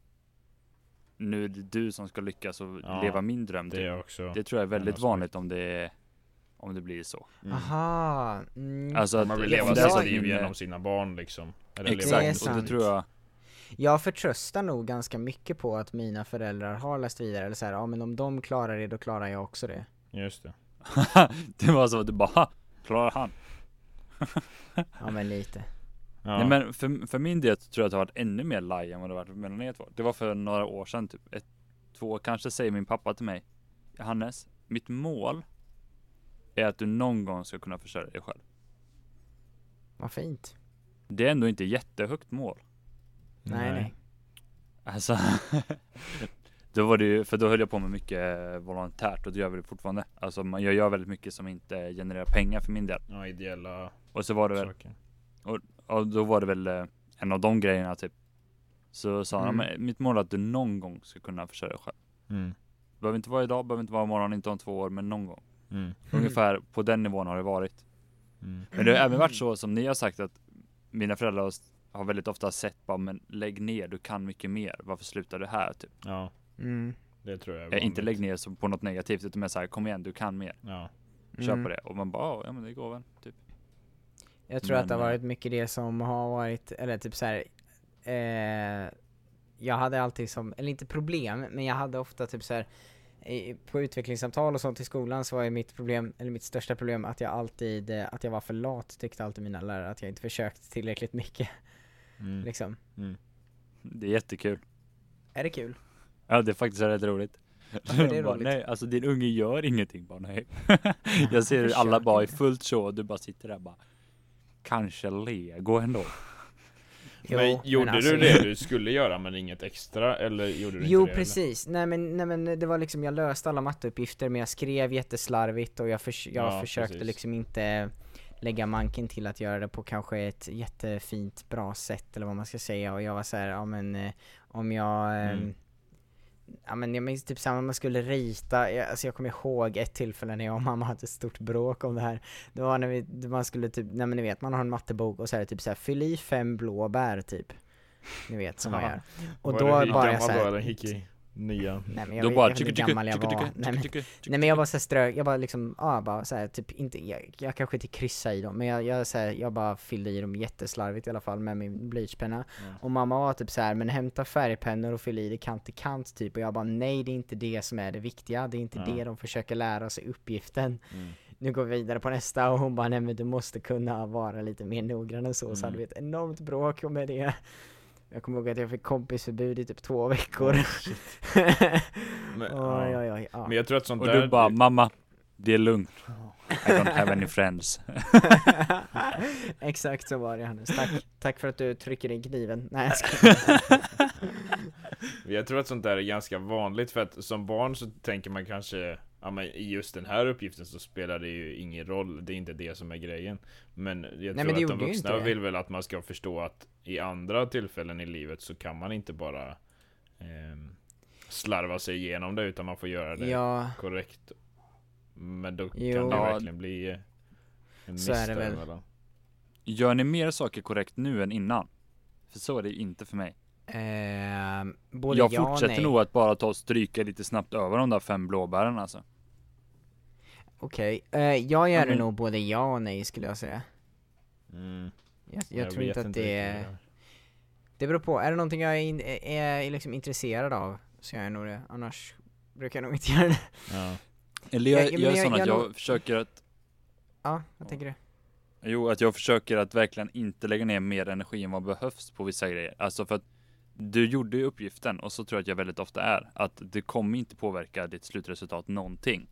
S3: nu är det du som ska lyckas och
S4: Ja,
S3: leva min dröm
S4: Det
S3: det,
S4: är också.
S3: det tror jag är väldigt
S4: aspekt.
S3: vanligt om det om det blir så
S4: Mm.
S2: Aha. Mm.
S3: alltså att
S4: man vill
S2: det-
S4: leva
S3: om det
S2: jag-
S4: sitt
S3: är
S4: liv
S3: inne-
S4: genom sina barn liksom. Eller leva
S2: Det är
S3: exakt och det
S2: sant.
S3: tror jag
S2: Jag förtröstar nog ganska mycket på att mina föräldrar har läst vidare, eller så här, ja men om de klarar det då klarar jag också det.
S4: Just det.
S3: det var så att du bara "Ha, klarar han
S2: Ja men lite.
S4: Ja.
S3: Nej, men för, för min del tror jag att det har varit ännu mer laj än vad det har varit mellan er två. Det var för några år sedan, typ ett, två år kanske, säger min pappa till mig. Hannes, mitt mål är att du någon gång ska kunna försörja dig själv.
S2: Vad fint.
S3: Det är ändå inte jättehögt mål.
S2: Nej nej.
S3: Alltså, då var det ju, för då höll jag på med mycket eh, volontärt och det gör jag väl fortfarande. Alltså man- jag gör väldigt mycket som inte genererar pengar för min del.
S4: Ja, ideella
S3: Och så var det väl
S4: saker.
S3: Ja, då var det väl eh, en av de grejerna typ. Så sa han,
S2: Mm.
S3: "Men mitt mål är att du någon gång ska kunna försörja dig själv.
S4: Mm.
S3: Behöver inte vara idag, behöver inte vara imorgon, inte om två år, men någon gång.
S4: Mm.
S3: Ungefär på den nivån har det varit.
S4: Mm.
S3: Men det har även varit så som ni har sagt att mina föräldrar har s- har väldigt ofta sett bara, men lägg ner, du kan mycket mer. Varför slutar du här? Typ.
S4: Ja,
S2: Mm.
S4: det tror jag. är
S3: Eh, inte
S4: vanligt.
S3: lägg ner som på något negativt, utan mer så här, kom igen, du kan mer.
S4: Ja.
S3: Kör
S2: Mm.
S3: på det. Och man bara, "Ja, ja men det går väl. Typ.
S2: Jag tror att det har
S3: Men, eh,
S2: varit mycket det som har varit, eller typ så här. Eh, jag hade alltid som, eller inte problem, men jag hade ofta typ så här. i- På utvecklingssamtal och sånt i skolan så var ju mitt problem, eller mitt största problem att jag alltid, eh, att jag var för lat tyckte alltid mina lärare, att jag inte försökt tillräckligt mycket
S4: Mm.
S2: liksom.
S3: Det är jättekul.
S2: Är det kul?
S3: Ja det är faktiskt rätt roligt.
S2: Varför är det
S3: bara,
S2: roligt?
S3: Nej, alltså din unge gör ingenting bara nej. jag ser hur alla
S2: försök
S3: bara är
S2: inte.
S3: fullt så och du bara sitter där bara. Kanske lego ändå.
S2: Jo,
S4: men gjorde
S2: alltså-
S4: du det du skulle göra men inget extra eller gjorde du
S2: Jo
S4: inte det?
S2: precis, nej men, nej men det var liksom, jag löste alla matteuppgifter men jag skrev jätteslarvigt och jag, förs- jag
S4: Ja,
S2: försökte
S4: precis.
S2: liksom inte lägga manken till att göra det på kanske ett jättefint bra sätt eller vad man ska säga och jag var så här, ja men eh, om jag ehm,
S4: Mm.
S2: Ja men jag minns typ samma, man skulle rita, jag, alltså jag kommer ihåg ett tillfälle när jag och mamma hade ett stort bråk om det här Det var när vi, man skulle typ, nej men ni vet man har en mattebok och så är det typ så här, fyll i fem blåbär typ Ni vet som man
S4: Ja.
S2: gör Och
S4: Var
S2: då
S4: du- hur
S2: bara jag
S4: gammal
S2: så här,
S4: var den? Gick i nian?
S2: Nej men jag,
S3: Då
S2: vet,
S3: bara
S2: jag vet inte
S3: tycker,
S2: hur gammal
S3: tycker,
S2: jag var.
S3: tycker,
S2: Nej men,
S3: tycker,
S2: nej men jag var såhär strök, jag bara liksom, ja bara såhär typ inte, jag, jag kanske inte kryssade i dem men jag, jag, så här, jag bara fyllde i dem jätteslarvigt i alla fall med min blyertspenna. Och mamma var typ så här, men hämta färgpennor och fyll i det kant till kant typ och jag bara nej det är inte det som är det viktiga, det är inte det de försöker lära sig uppgiften. Nu går vi vidare på nästa och hon bara nej men du måste kunna vara lite mer noggrann än så så hade vi ett enormt bråk med det. Jag kommer ihåg att jag fick kompisförbud i typ två veckor.
S4: Men,
S2: Oj,
S4: ja.
S2: oj, oj, ja.
S4: men jag tror att sånt
S3: Och
S4: där...
S3: du bara mamma, det är lugnt. I don't have any friends.
S2: Exakt så var det Hannes, tack, tack för att du trycker in kniven. Nej jag skojar.
S4: Jag tror att sånt där är ganska vanligt för att som barn så tänker man kanske Ja men i just den här uppgiften så spelar det ju ingen roll, det är inte det som är grejen. Men jag
S2: men
S4: tror
S2: det
S4: att
S2: gjorde
S4: de
S2: ju inte
S4: vuxna
S2: det.
S4: vill väl att man ska förstå att i andra tillfällen i livet så kan man inte bara ehm,
S1: slarva sig igenom det utan man får göra det
S2: Ja,
S1: korrekt. Men då
S2: Jo.
S1: kan det
S3: Ja.
S1: verkligen bli eh, en
S2: Så är det
S1: miss där
S2: väl.
S1: emellan.
S3: Gör ni mer saker korrekt nu än innan? För så är det inte för mig.
S2: ehm, både
S3: jag
S2: ja och
S3: fortsätter
S2: nej.
S3: nog att bara ta och stryka lite snabbt över de där fem blåbären alltså.
S2: Okej, eh, jag gör
S3: Ja,
S2: det
S3: men-
S2: nog både ja och nej skulle jag säga.
S1: Mm.
S2: Jag, jag, tror
S1: vet
S2: inte att det
S1: riktigt
S2: är...
S1: hur
S2: Det beror på, är det någonting jag är, in, är liksom intresserad av så gör jag nog det, annars brukar jag nog inte göra det.
S1: det är. Ja.
S3: Eller jag,
S2: Ja, men
S3: jag är
S2: jag-
S3: sån att
S2: jag
S3: jag
S2: nog-
S3: försöker att
S2: Ja, vad tänker du?
S3: Jo, att jag försöker att verkligen inte lägga ner mer energi än vad behövs på vissa grejer. Alltså för att du gjorde ju uppgiften och så tror jag att jag väldigt ofta är att det kommer inte påverka ditt slutresultat någonting.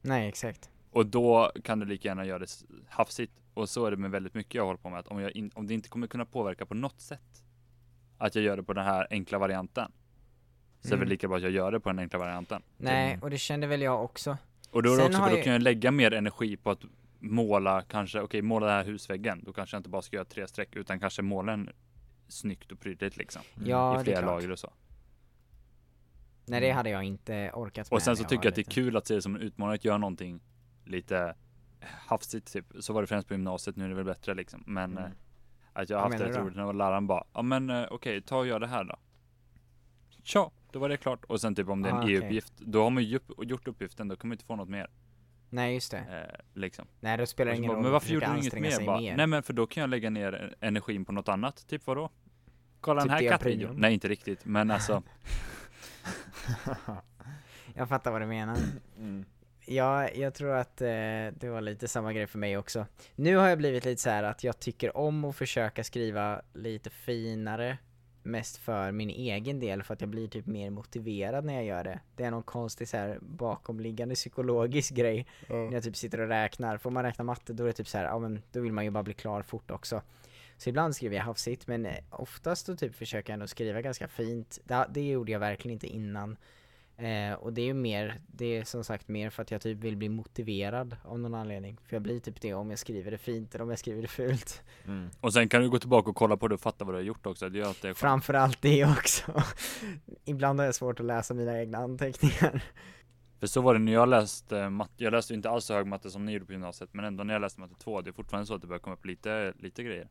S2: Nej, exakt.
S3: Och då kan du lika gärna göra det s- hafsigt. Och så är det med väldigt mycket jag håller på med. Att om, jag in, om det inte kommer kunna påverka på något sätt att jag gör det på den här enkla varianten. Så är det
S2: Mm.
S3: väl lika bra att jag gör det på den enkla varianten.
S2: Nej, och det kände väl jag också.
S3: Och då, är det
S2: Sen
S3: också,
S2: har
S3: för då
S2: jag-
S3: kan jag lägga mer energi på att måla kanske, okej måla den här husväggen. Då kanske jag inte bara ska göra tre streck utan kanske måla en snyggt och prydligt liksom.
S2: Ja,
S3: I
S2: det är
S3: flera
S2: klart.
S3: lager och så.
S2: Nej, det hade jag inte orkat med
S3: Mm. Och sen
S2: när
S3: så
S2: jag
S3: tycker
S2: var
S3: jag att det är
S2: liten.
S3: kul att se det som en utmaning att göra någonting lite hafsigt typ. Så var det främst på gymnasiet, nu är det väl bättre liksom. Men
S1: Mm.
S3: eh, att jag har
S2: Vad
S3: haft
S2: menar
S3: rätt
S2: du då?
S3: roligt när jag var läraren bara, ja men eh, okej, ta och gör det här då. Tja, då var det klart. Och sen typ om det är en
S2: Ah, okej.
S3: EU-uppgift, då har man ju upp- gjort uppgiften, då kommer man inte få något mer.
S2: Nej, just det.
S3: Eh, liksom.
S2: Nej, då spelar
S3: Och
S2: det
S3: så
S2: ingen
S3: bara,
S2: roll.
S3: men
S2: att
S3: varför gjorde
S2: försöka
S3: du inget
S2: anstränga sig
S3: mer? Bara, nej men för då kan jag lägga ner energin på något annat. Typ vadå? Kolla
S2: Typ
S3: den
S2: det
S3: här
S2: jag
S3: kattvideon.
S2: pryade.
S3: Nej inte riktigt men alltså.
S2: Jag fattar vad du menar.
S1: Mm.
S2: Ja, jag tror att eh, det var lite samma grej för mig också. Nu har jag blivit lite så här att jag tycker om att försöka skriva lite finare. Mest för min egen del, för att jag blir typ mer motiverad när jag gör det. Det är någon konstig så här bakomliggande psykologisk grej. När jag typ sitter och räknar. Får man räkna matte då är det typ så här, ja men då vill man ju bara bli klar fort också. Så ibland skriver jag hafsigt, men eh, oftast då typ försöker jag ändå skriva ganska fint. Det, det gjorde jag verkligen inte innan. Eh, och det är ju mer, det är som sagt mer för att jag typ vill bli motiverad av någon anledning. För jag blir typ det om jag skriver det fint eller om jag skriver det fult.
S1: Mm.
S3: Och sen kan du gå tillbaka och kolla på det och fatta vad du har gjort också. Det gör att det är skönt.
S2: Framförallt det också. Ibland har jag svårt att läsa mina egna anteckningar.
S3: För så var det när jag läste matte. Jag läste ju inte alls så hög matte som ni gjorde på gymnasiet. Men ändå när jag läste matte 2. Det är fortfarande så att det börjar komma upp lite, lite grejer.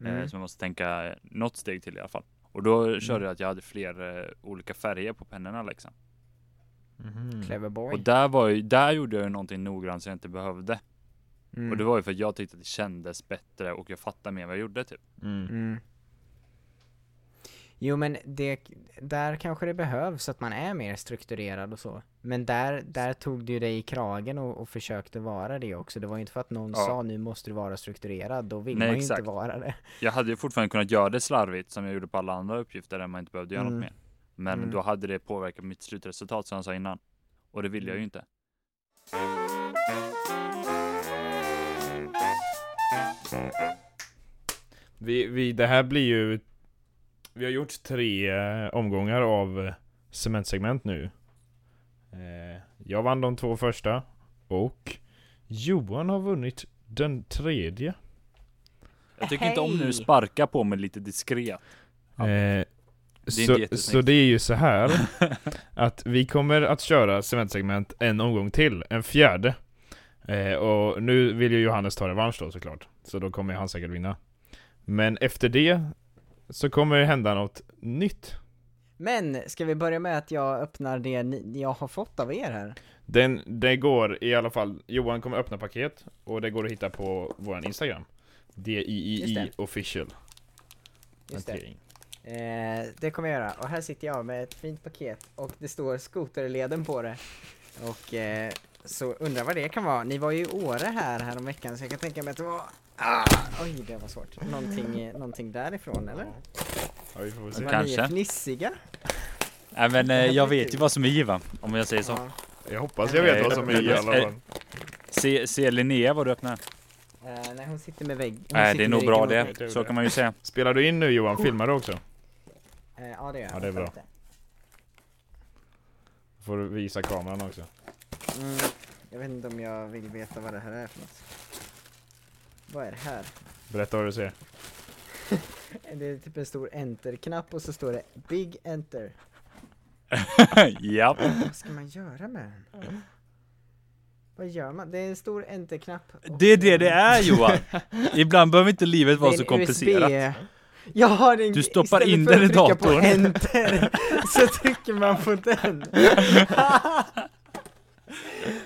S3: Eh,
S2: Mm.
S3: som jag måste tänka eh, något steg till i alla fall. Och då körde jag att jag hade fler eh, olika färger på pennorna liksom.
S4: Mm.
S1: Mhm.
S2: Clever
S3: Och
S2: boy.
S3: där, var ju, där gjorde jag ju någonting noggrant som jag inte behövde.
S2: Mm.
S3: Och det var ju för att jag tyckte att det kändes bättre och jag fattade mer vad jag gjorde typ.
S1: Mm.
S2: Mm. Jo men det, där kanske det behövs att man är mer strukturerad och så. Men där, där tog du dig i kragen och, och försökte vara det också. Det var ju inte för att någon
S3: Ja.
S2: sa nu måste du vara strukturerad, då vill
S3: Nej,
S2: man ju
S3: exakt.
S2: inte vara det.
S3: Jag hade ju fortfarande kunnat göra det slarvigt som jag gjorde på alla andra uppgifter där man inte behövde göra
S2: Mm.
S3: något mer. Men
S2: Mm.
S3: då hade det påverkat mitt slutresultat som jag sa innan. Och det ville
S2: Mm.
S3: jag ju inte.
S1: Vi, vi, det här blir ju... Vi har gjort tre eh, omgångar av eh, cementsegment nu. Eh, jag vann de två första. Och Johan har vunnit den tredje.
S3: Jag tycker inte om när
S2: Hej!
S3: du sparkar på mig lite diskret. Ja.
S1: Eh,
S3: inte
S1: så,
S3: jättesnyggt.
S1: så det är ju så här att vi kommer att köra cementsegment en omgång till, en fjärde. Eh, och nu vill ju Johannes ta revansch då såklart, så då kommer han säkert vinna. Men efter det så kommer det hända något nytt.
S2: Men ska vi börja med att jag öppnar det ni, jag har fått av er här?
S1: Den, det går i alla fall, Johan kommer öppna paket och det går att hitta på vår Instagram.
S2: Just
S1: DIII
S2: det.
S1: official.
S2: Just det.
S1: Hantering.
S2: Eh, det kommer jag göra. Och här sitter jag med ett fint paket och det står skoterleden på det. Och eh, så undrar vad det kan vara. Ni var ju i Åre här häromveckan så jag kan tänka mig att det var... Ah! Oj, det var svårt. Någonting, eh, någonting därifrån eller?
S1: Ja, vi får väl se.
S3: Okej.
S2: Var
S3: Kanske.
S2: ni fnissiga?
S3: Nej men eh, jag vet ju
S2: kul.
S3: vad som är given. Om jag säger så.
S2: Ja.
S1: Jag hoppas jag vet vad som är i alla fall.
S3: Se, se Linnea vad du öppnar.
S2: Eh, nej, hon sitter med vägg. hon
S3: Nej
S2: sitter
S3: det är
S2: med
S3: nog
S2: ryggen
S3: bra
S2: mot vägg.
S3: det. Så kan man ju säga.
S1: Spelar du in nu Johan? Filmar du också?
S2: Eh, ja, det gör jag.
S1: Ja, det är bra.
S2: Vänta
S1: Får du visa kameran också.
S2: lite. Mm, jag vet inte om jag vill veta vad det här är för något. Vad är det här?
S1: Berätta vad du ser.
S2: Det är typ en stor enter-knapp och så står det Big Enter.
S3: Japp.
S2: Vad ska man göra med den? Mm. Vad gör man? Det är en stor enter-knapp. och-
S3: Det är det det är Johan! Ibland behöver inte livet vara så
S2: Det är en
S3: komplicerat.
S2: USB. Ja, det är en,
S3: Du
S2: istället
S3: stoppar in
S2: för
S3: den
S2: att
S3: i
S2: trycka
S3: datorn.
S2: På enter, så trycker man på den.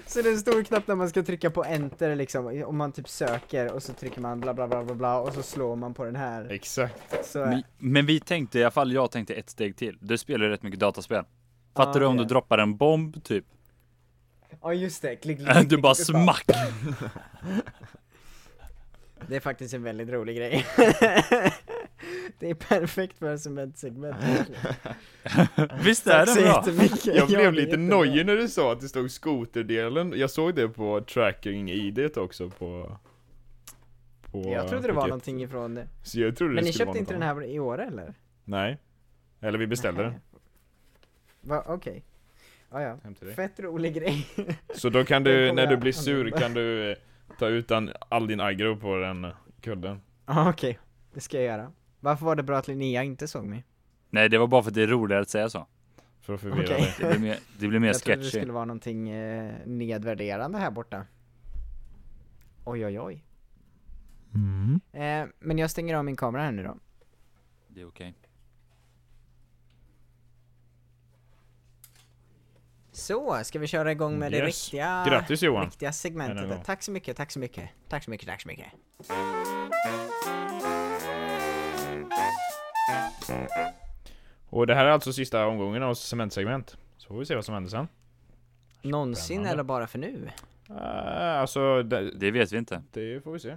S2: så det är en stor knapp där man ska trycka på enter liksom, om man typ söker och så trycker man bla bla bla bla bla och så slår man på den här.
S1: Exakt.
S2: Så,
S3: Men, men vi tänkte i alla fall, jag tänkte ett steg till. Du spelar ju rätt mycket dataspel. Fattar
S2: Ah, Ja,
S3: du om
S2: det
S3: du
S2: är.
S3: droppar en bomb typ?
S2: ja just det, klick, klick, klick,
S3: Du bara
S2: klick,
S3: smack!
S2: Det är faktiskt en väldigt rolig grej. det är perfekt för segment.
S3: Visst är det bra?
S1: Jag blev lite nojig när du sa att det stod skoterdelen. Jag såg det på tracking-idet också på... på
S2: Jag trodde det var
S1: paketet.
S2: någonting ifrån
S1: Så jag trodde
S2: Men
S1: det
S2: ni
S1: skulle
S2: köpte
S1: vara
S2: inte
S1: något
S2: den här i år eller?
S1: annat. Nej. Eller vi beställde den.
S2: Nej. Va, okej. Ja, ja.
S1: Hem till dig.
S2: Fett rolig grej.
S1: Så då kan
S2: Den
S1: du,
S2: kommer
S1: när du
S2: jag
S1: blir sur
S2: använda.
S1: kan du eh, ta ut an- all din aggro på den eh, kudden.
S2: Ja, okej. Det ska jag göra. Varför var det bra att Linnea inte såg mig?
S3: Nej, det var bara för att det är roligare att säga så.
S1: För att förvirra
S2: Okej.
S1: dig.
S3: Det blir mer, det blir mer
S2: jag trodde det
S3: sketchy.
S2: skulle vara någonting eh, nedvärderande här borta. Oj, oj, oj.
S1: Mm.
S2: Eh, men jag stänger av min kamera här nu då.
S3: Det är okej.
S2: Så, ska vi köra igång med det
S1: Yes.
S2: riktiga,
S1: Grattis Johan!
S2: riktiga segmentet?
S1: Än en gång.
S2: Tack så mycket, tack så mycket. Tack så mycket, tack så mycket.
S1: Och det här är alltså sista omgången av cementsegment. Så får vi se vad som händer sen.
S2: Någonsin
S1: Spännande.
S2: eller bara för nu?
S1: Eh, alltså, det,
S3: Det vet vi inte.
S1: det får vi se.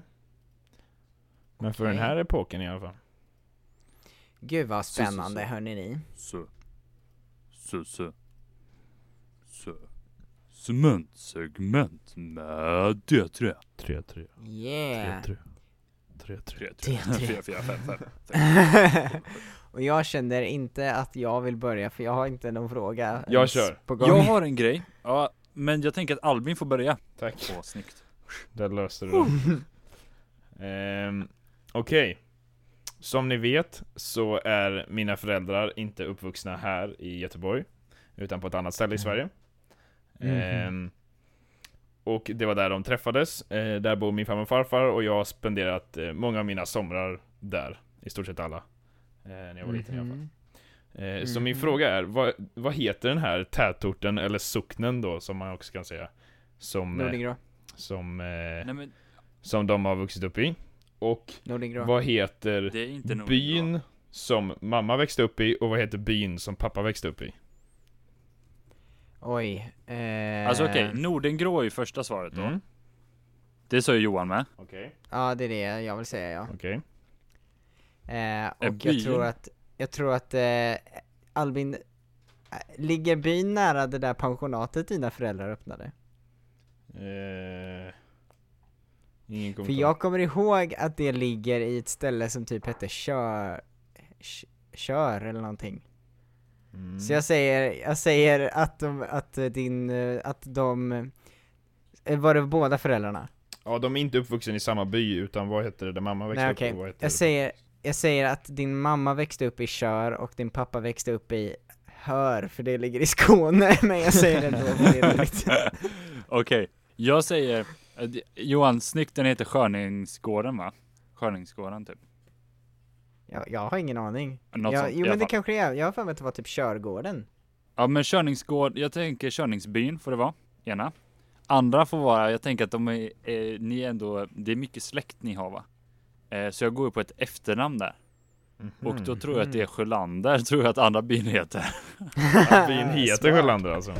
S1: Men för
S2: Okej.
S1: den här epoken i alla fall.
S2: Gud vad
S3: Så, så, så.
S2: spännande, hörni ni.
S3: Sö. Sö, sö. Sö. Cementsegment med D3.
S1: 3-3,
S2: Yeah.
S1: 3-3.
S3: 3,
S2: D3.
S3: 4, 4, 5, 5.
S2: Och jag känner inte att jag vill börja för jag har inte någon fråga
S1: Jag
S2: ens
S1: kör.
S2: på gång.
S3: Jag har en grej. Ja, men jag tänker att Albin får börja.
S1: Tack.
S3: Åh, snyggt.
S1: Där löste du det. Ehm, Okej. Som ni vet så är mina föräldrar inte uppvuxna här i Göteborg. Utan på ett annat ställe i Sverige.
S2: Mm. Mhm.
S1: Ehm, och det var där de träffades. Eh, där bor min farmor och farfar och jag har spenderat eh, många av mina somrar där. I stort sett alla. Eh, när jag var liten i alla fall.
S2: Mhm.
S1: Eh, Så min
S2: Mhm.
S1: fråga är, vad, vad heter den här tätorten, eller socknen då, som man också kan säga? Som, eh,
S2: Nordingrå,
S1: som, eh,
S3: Nej men
S1: som de har vuxit upp i. Och
S2: Nordingrå.
S1: vad heter
S3: det är inte nog.
S1: byn som mamma växte upp i och vad heter byn som pappa växte upp i?
S2: Oj. Eh...
S3: Alltså okej, Nordengrå är ju första svaret då.
S1: Mm.
S3: Det sa ju Johan med.
S1: Okej.
S2: Ja det är det jag vill säga ja.
S1: Okej.
S2: Eh,
S3: Är
S2: och jag tror
S3: byn-
S2: att, jag tror att eh, Albin, eh, ligger byn nära det där pensionatet dina föräldrar öppnade?
S1: Eh, Ingen
S2: För
S1: kommentar.
S2: jag kommer ihåg att det ligger i ett ställe som typ hette Kör... K- Kör eller någonting.
S1: Mm.
S2: Så jag säger, jag säger att de, att eh, din, eh, att de, eh, var det båda föräldrarna?
S1: Ja, de är inte uppvuxna i samma by, utan vad heter det där mamma växte
S2: Nej
S1: upp
S2: okej,
S1: och vad heter
S2: jag
S1: det?
S2: säger, jag säger att din mamma växte upp i Kör och din pappa växte upp i Hör, för det ligger i Skåne, men jag säger det ändå för det är roligt.
S3: Okej, jag säger eh, Johan, snyggt den heter Skörningsgården va? Skörningsgården typ.
S2: Jag, jag har ingen aning.
S3: Något
S2: jag,
S3: sånt,
S2: jo
S3: i alla
S2: men det
S3: fall.
S2: kanske det är, jag har för mig att det var typ Körgården.
S3: Ja men Körningsgård, jag tänker Körningsbyn får det vara, ena. Andra får vara, jag tänker att de är, eh, ni är ändå, det är mycket släkt ni har va? Eh, så jag går ju på ett efternamn där.
S1: Mhm.
S2: Mm.
S3: Och då tror jag att det är Sjölander, tror jag att andra byn heter.
S1: Att byn heter
S2: Smart.
S1: Sjölander alltså?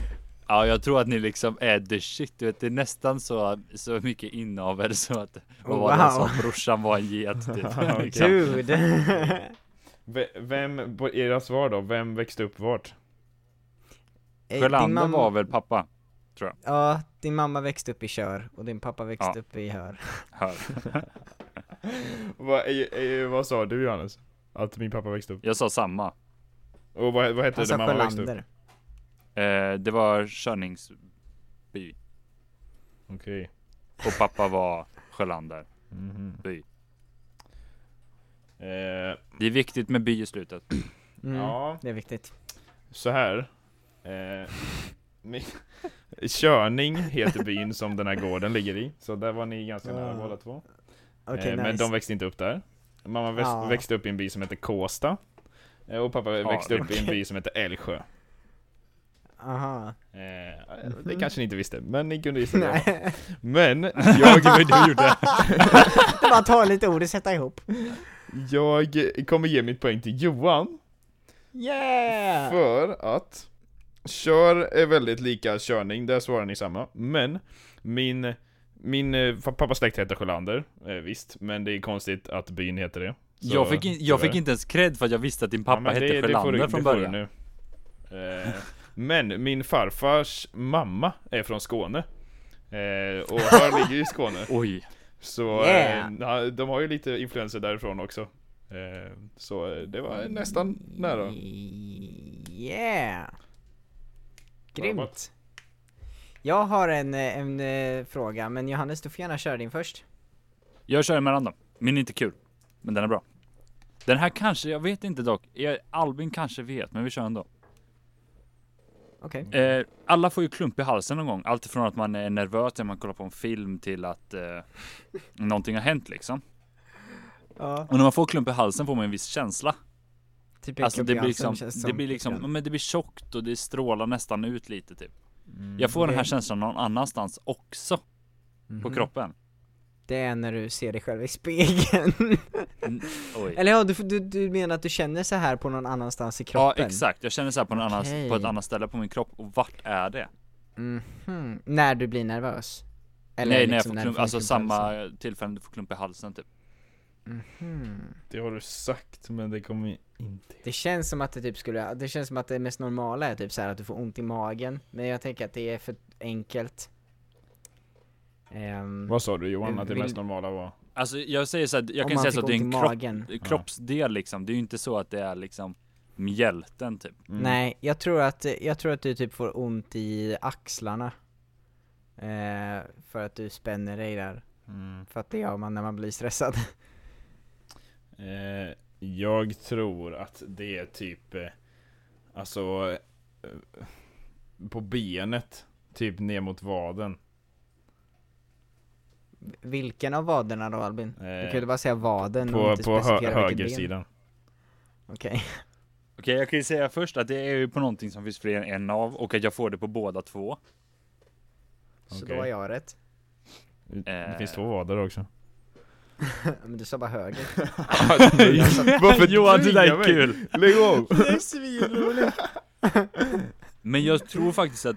S3: Ja, jag tror att ni liksom är the shit. Du vet, det är nästan så, så mycket inavel så att vad var det
S2: Oh, Wow.
S3: som brorsan var en get typ. liksom.
S2: Dude!
S1: Ve- Vem, på era svar då, vem växte upp vart?
S2: Eh, din
S3: Sjölander
S2: mamma,
S3: var väl pappa?
S2: Ja, din mamma växte upp i Kör och din pappa växte
S3: Ja.
S2: upp i Hör.
S3: Hör.
S1: Vad, eh, eh, vad sa du Johannes? Att min pappa växte upp?
S3: Jag sa samma.
S1: Och vad, vad hette
S2: Han
S1: det där
S2: sa
S1: mamma växte upp?
S2: Alltså Sjölander.
S3: Eh, det var Körningsby
S1: Okej.
S3: och pappa var Sjölander.
S1: Mhm.
S3: By.
S1: Eh,
S3: Det är viktigt med by i slutet.
S2: Mm,
S1: Ja,
S2: Det är viktigt.
S1: så här. Eh, min... Körning heter byn som den här gården ligger i, så där var ni ganska nära
S2: Ah.
S1: båda två.
S2: Okej,
S1: eh,
S2: nice.
S1: Men de växte inte upp där. Mamma väx-
S2: Ah.
S1: växte upp i en by som heter Kåsta. Eh, Och pappa växte upp i en by som heter Älvsjö. Eh,
S2: Aha.
S1: Det kanske ni inte visste, men ni kunde gissa det.
S2: Mhm. Nej.
S1: Men jag,
S3: du gjorde?
S2: Bara ta lite ord och sätta ihop.
S1: jag kommer ge mitt poäng till Johan
S2: Yeah!
S1: För att Kör är väldigt lika körning, där svarar ni samma Men min, min eh, fa- pappas släkt heter Sjölander, eh, visst Men det är konstigt att byn heter det Så,
S3: Jag fick, in, jag fick
S1: tyvärr.
S3: inte ens cred för att jag visste att din
S1: Ja,
S3: pappa
S1: men
S3: hette
S1: det- det får du-
S3: Sjölander
S1: det
S3: från
S1: får du
S3: början.
S1: nu. Eh, men min farfars mamma är från Skåne eh, Och här ligger ju Skåne
S3: Oj.
S1: Så
S2: Yeah.
S1: eh, ja, de har ju lite influenser därifrån också eh, Så eh, det
S3: Mm.
S1: var nästan nära
S2: Yeah! Grymt!
S1: Robert.
S2: Jag har en, eh, en eh, fråga, men Johannes du får gärna köra din först.
S3: Jag kör emellan då. Min är inte kul. Men den är bra. Den här kanske, jag vet inte dock. Jag- Albin kanske vet, men vi kör ändå.
S2: Okej.
S1: Mm.
S3: Eh, alla får ju klump i halsen någon gång. Allt från att man är nervös när man kollar på en film till att eh, någonting har hänt liksom.
S2: Ja,
S3: Och när man får klump i halsen får man en viss känsla.
S2: typ
S3: Alltså det blir liksom,
S2: känns
S3: det blir liksom, men det blir tjockt och det strålar nästan ut lite typ. Jag får den
S1: Mm.
S3: här
S2: Okej.
S3: känslan någon annanstans också på
S2: Mhm.
S3: kroppen.
S2: Mm. Det är när du ser dig själv i spegeln.
S3: N- Oj.
S2: Eller ja, du, du, du menar att du känner så här på någon annanstans i
S3: Ja
S2: kroppen?
S3: exakt, jag känner så här på, en annan,
S2: Okej.
S3: på ett annat ställe på min kropp och vart är det?
S2: Mhm. När du blir nervös?
S3: Nej när jag
S2: liksom
S3: får
S2: du
S3: klump, alltså
S2: klump i halsen.
S3: samma tillfälle du får klump i halsen typ.
S2: Mhm.
S1: Det har du sagt men det kommer inte
S2: Det känns som att det typ skulle, det känns som att det mest normala är typ så här att du får ont i magen Men jag tänker att det är för enkelt Ehm,
S1: Vad sa du Johan
S2: Eh,
S1: att det
S2: vill-
S1: mest normala var?
S3: Alltså jag säger så här, jag
S2: om
S3: kan
S2: man
S3: säga
S2: fick
S3: så att det är
S2: ont
S3: en
S2: i
S3: kropp,
S2: magen.
S3: kroppsdel liksom. Det är ju inte så att det är liksom mjälten typ.
S1: Mm.
S2: Nej, jag tror att, jag tror att du typ får ont i axlarna eh, För att du spänner dig där
S1: Mm.
S2: För att det gör man när man blir stressad
S1: Eh, jag tror att det är typ eh, Alltså eh, På benet Typ ner mot vaden
S2: Vilken av vaderna då Albin? Du
S1: eh,
S2: kunde bara säga vaden och
S1: På,
S2: inte
S1: på hö-
S2: specificera vilket ben.
S1: högersidan
S2: Okej,
S3: Okej jag kan ju säga först att det är ju på någonting som finns fler än en av och att jag får det på båda två.
S2: så
S1: Okej.
S2: då har jag rätt
S1: Det
S3: Eh.
S1: finns två vader också
S2: Men du sa bara höger
S1: Varför
S3: Johan det där
S1: tvingar
S3: är
S1: mig?
S3: kul!
S1: Lägg av!
S2: Det är svinroligt!
S3: Men jag tror faktiskt att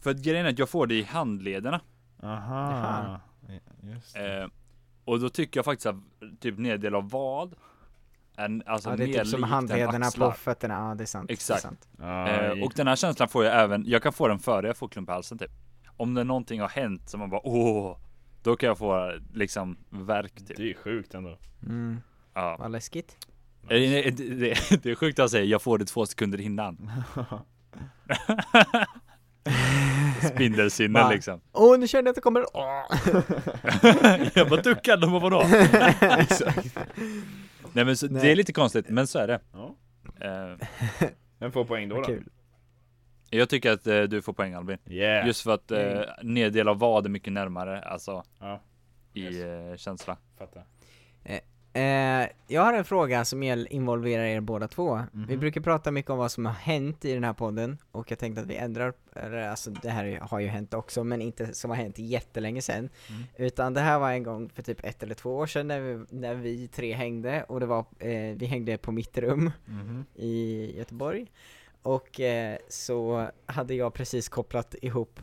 S3: För att grejen är att jag får det i handlederna
S1: Aha Just det.
S3: eh, Och då tycker jag faktiskt att typ nederdel av vad en, Alltså
S2: Ja det
S3: mer
S2: är typ som
S3: likt än
S2: handlederna
S3: axlar.
S2: på fötterna, ja det är sant
S3: Exakt.
S2: det är sant.
S1: Aj.
S3: eh, Och den här känslan får jag även Jag kan få den före jag får klump i halsen typ Om det någonting har hänt som man bara åh Då kan jag få liksom värk typ
S1: Det är sjukt ändå
S2: Mm,
S3: ja.
S2: vad läskigt
S3: Eh, nej, det, det, det är sjukt att jag säger jag får det två sekunder innan Spindelsinne
S2: Va?
S3: liksom
S2: Åh nu kände jag att det kommer, åh!
S3: Jag bara duckar, de bara vadå? Nej men så,
S2: Nej.
S3: det är lite konstigt, men så är det.
S1: Ja.
S3: Eh,
S1: Vem får poäng då? då?
S2: kul
S3: jag tycker att eh, du får poäng Albin.
S1: Yeah!
S3: Just för att
S2: Mm.
S3: eh, neddel av vad är mycket närmare, alltså.
S1: Ja. Yes.
S3: I eh, känsla.
S1: Fattar
S2: eh, Jag har en fråga som gäll- involverar er båda två Vi brukar prata mycket om vad som har hänt i den här podden Och jag tänkte att vi ändrar, eller, alltså det här har ju hänt också men inte som har hänt jättelänge sen Utan det här var en gång för typ ett eller två år sedan när vi, när vi tre hängde och det var, eh, vi hängde på mitt rum i Göteborg Och eh, så hade jag precis kopplat ihop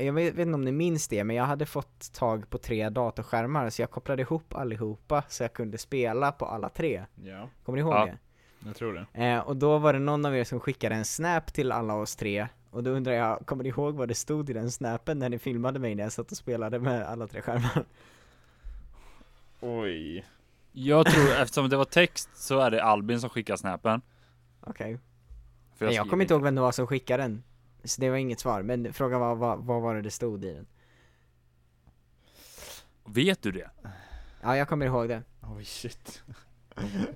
S2: Jag vet vet inte om ni minns det men jag hade fått tag på tre datorskärmar så jag kopplade ihop allihopa så jag kunde spela på alla tre
S1: Ja,
S2: Kommer ni ihåg
S3: Ja.
S2: det?
S1: jag tror det
S2: Eh, och då var det någon av er som skickade en snap till alla oss tre och då undrar jag, kommer ni ihåg vad det stod i den snapen när ni filmade mig när jag satt och spelade med alla tre skärmar?
S1: Oj
S3: Jag tror, eftersom det var text så är det Albin som skickar snappen.
S2: Okej.
S3: För
S2: Men jag
S3: skriver
S2: kommer inte ihåg vem det var som skickade den. Så det var inget svar, men frågan var vad, vad var det det stod i den?
S3: Vet du det?
S2: Ja, jag kommer ihåg det.
S1: Oj shit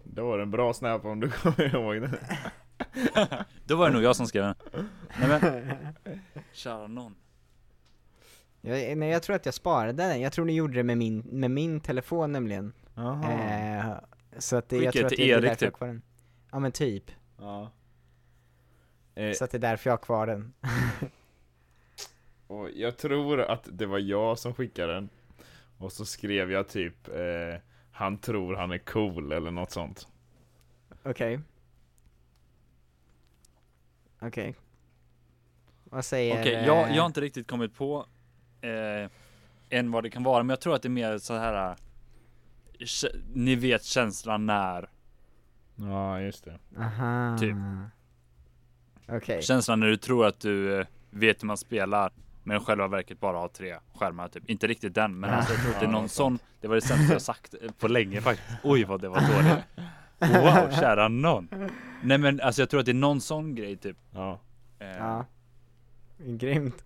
S1: Det var en bra snap om du kommer ihåg det
S3: Då var det nog jag som skrev den. Nej men. Kära nån.
S2: Jag, nej, jag tror att jag sparade den, jag tror ni gjorde det med min, med min telefon nämligen
S1: Jaha.
S2: eh, Så att det, jag
S3: Skicka
S2: tror att det
S3: till
S2: är
S3: Ah.
S2: därför jag har
S3: Erik, typ.
S2: kvar den Ja men typ,
S1: Ja. Eh,
S2: så att det är därför jag har kvar den
S1: och jag tror att det var jag som skickade den. Och så skrev jag typ eh, Han tror han är cool eller något sånt.
S2: Okej Okej Vad säger...
S3: Okej, jag,
S2: eh,
S3: jag har inte riktigt kommit på eh, än vad det kan vara, men jag tror att det är mer så här. eh, kä- Ni vet känslan när
S1: Ja, just det.
S2: Aha.
S3: typ.
S2: Okej,
S3: Känslan när du tror att du eh, vet hur man spelar Men själva verket bara har tre skärmar typ Inte riktigt den men alltså, jag tror att det är någon sån Det var det sämsta jag sagt eh, på länge faktiskt Oj vad det var dåligt Wow kära någon Nej men alltså jag tror att det är någon sån grej typ
S1: Ja.
S3: eh,
S2: ja Grymt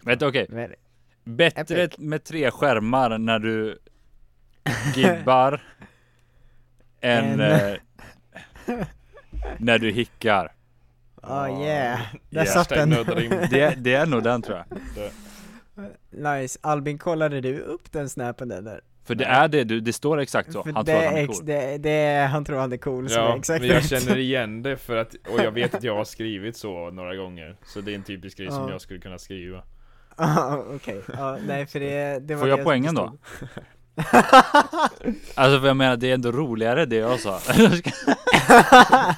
S3: Men okej
S2: Men,
S3: Bättre
S2: Epic.
S3: med tre skärmar när du gibbar
S2: Än-
S3: än eh, när du hickar.
S2: oh yeah, där
S3: Yeah.
S2: satt den!
S1: Nödrim.
S3: Det, det är nog den tror jag.
S2: Nice, Albin kollade du upp den snappen eller?
S3: För det är det du, det står exakt så.
S2: För
S3: Han
S2: det
S3: tror att han
S2: är
S3: är
S2: ex-
S3: cool.
S2: det, det är, han tror han är cool som är
S1: Ja,
S2: exakt
S1: men jag
S2: rätt.
S1: känner igen det för att, och jag vet att jag har skrivit så några gånger. Så det är en typisk grej som
S2: Ja.
S1: jag skulle kunna skriva.
S2: Ja, okej. Ja, nej för det, det var
S3: Får
S2: det
S3: jag
S2: som
S3: poängen då?
S2: stod.
S3: Alltså för jag menar det är ändå roligare det jag sa.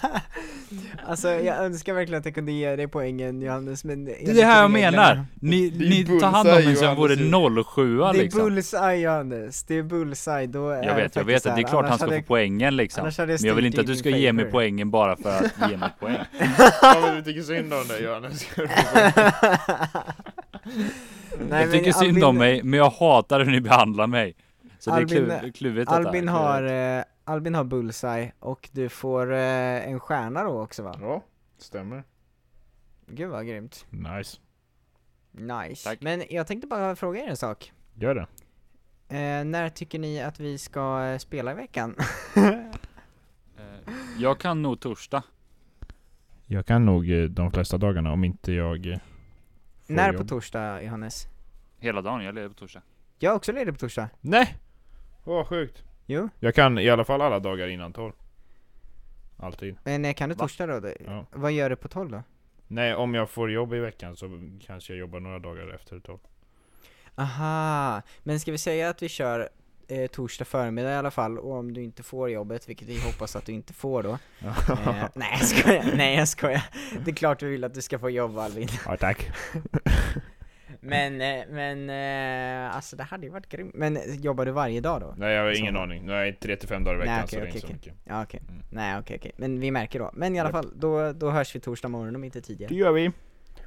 S2: alltså jag önskar verkligen att jag kunde ge dig poängen Johannes men
S3: Det är det här jag
S2: reglerna-
S3: menar. Ni,
S1: Det är
S3: ni tar hand om
S1: bullseye,
S3: mig som jag vore
S1: Johannes.
S3: 07
S2: Det är
S3: liksom.
S2: bullseye Johannes, det är bullseye då är
S3: Jag vet, jag vet att det är klart han ska få poängen liksom.
S2: annars hade jag
S3: Men jag vill
S2: styrt
S3: inte att du
S2: in
S3: ska
S2: i
S3: ge mig
S2: favor.
S3: poängen bara för att ge mig poäng.
S1: Ja men du tycker synd om dig Johannes.
S2: Nej,
S3: jag tycker
S2: men
S3: synd
S2: Albin-
S3: om mig, men jag hatar hur ni behandlar mig. Så det är
S2: Albin-
S3: kluv, kluvigt detta.
S2: Albin har, eh, Albin har bullseye och du får eh, en stjärna då också va?
S1: Ja, stämmer.
S2: Gud vad grymt,
S1: Nice.
S2: nice
S3: Tack.
S2: Men jag tänkte bara fråga er en sak
S1: Gör det.
S2: Eh, när tycker ni att vi ska eh, spela i veckan?
S3: Eh, Jag kan nog torsdag.
S1: Jag kan nog eh, de flesta dagarna om inte jag... eh, får
S2: när på
S1: jobb.
S2: torsdag, Johannes?
S3: Hela dagen, jag leder på torsdag.
S2: Jag är också ledig på torsdag.
S1: Nej! Vad sjukt.
S2: Jo,
S1: Jag kan i alla fall alla dagar innan 12. Alltid.
S2: men eh, kan du
S3: Va?
S2: torsdag då? Det-
S1: Ja.
S2: Vad gör du på 12 då?
S1: Nej, om jag får jobb i veckan så kanske jag jobbar några dagar efter 12.
S2: Aha, men ska vi säga att vi kör eh, torsdag förmiddag i alla fall och om du inte får jobbet, vilket vi hoppas att du inte får då. eh, nej jag skojar, nej jag skojar. Det är klart vi vill att du ska få jobb Alvin.
S1: Ja, tack.
S2: Men, eh, men eh, alltså det hade ju varit grymt. Men eh, jobbar du varje dag då?
S1: Nej, jag har ingen
S2: Så.
S1: aning. Nej, 3-5 dagar i veckan
S2: Nej,
S1: så
S2: okej,
S1: det är inte
S2: okej,
S1: så
S2: okej.
S1: mycket.
S2: Ja okej,
S1: Mm.
S2: nej okej okej, men vi märker då. Men i alla fall, då, då hörs vi torsdag morgon om inte tidigare.
S1: Det gör vi.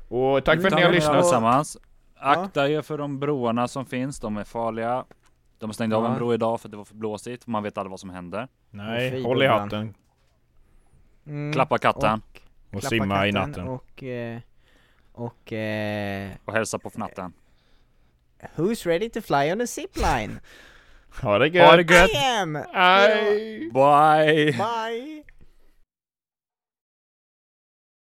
S1: Och tack för att ni har
S2: Mm.
S1: lyssnat.
S3: Allesammans. Akta er för de broarna som finns, de är farliga. De stängde av
S2: Ja.
S3: en bro idag för att det var för blåsigt, och man vet aldrig vad som händer.
S1: Nej,
S2: Fy
S1: håll i
S2: bubblan.
S1: hatten.
S2: Mm.
S3: Klappa katten,
S1: Och
S2: klappa
S1: simma i
S2: katten
S1: natten.
S2: Och, eh, och eh,
S3: och hälsa på fnatten.
S2: who's ready to fly on a zipline?
S1: Ha det
S3: Ha det
S1: gött!
S3: gött!
S2: I am!
S1: Aj!
S3: Bye!
S2: Bye!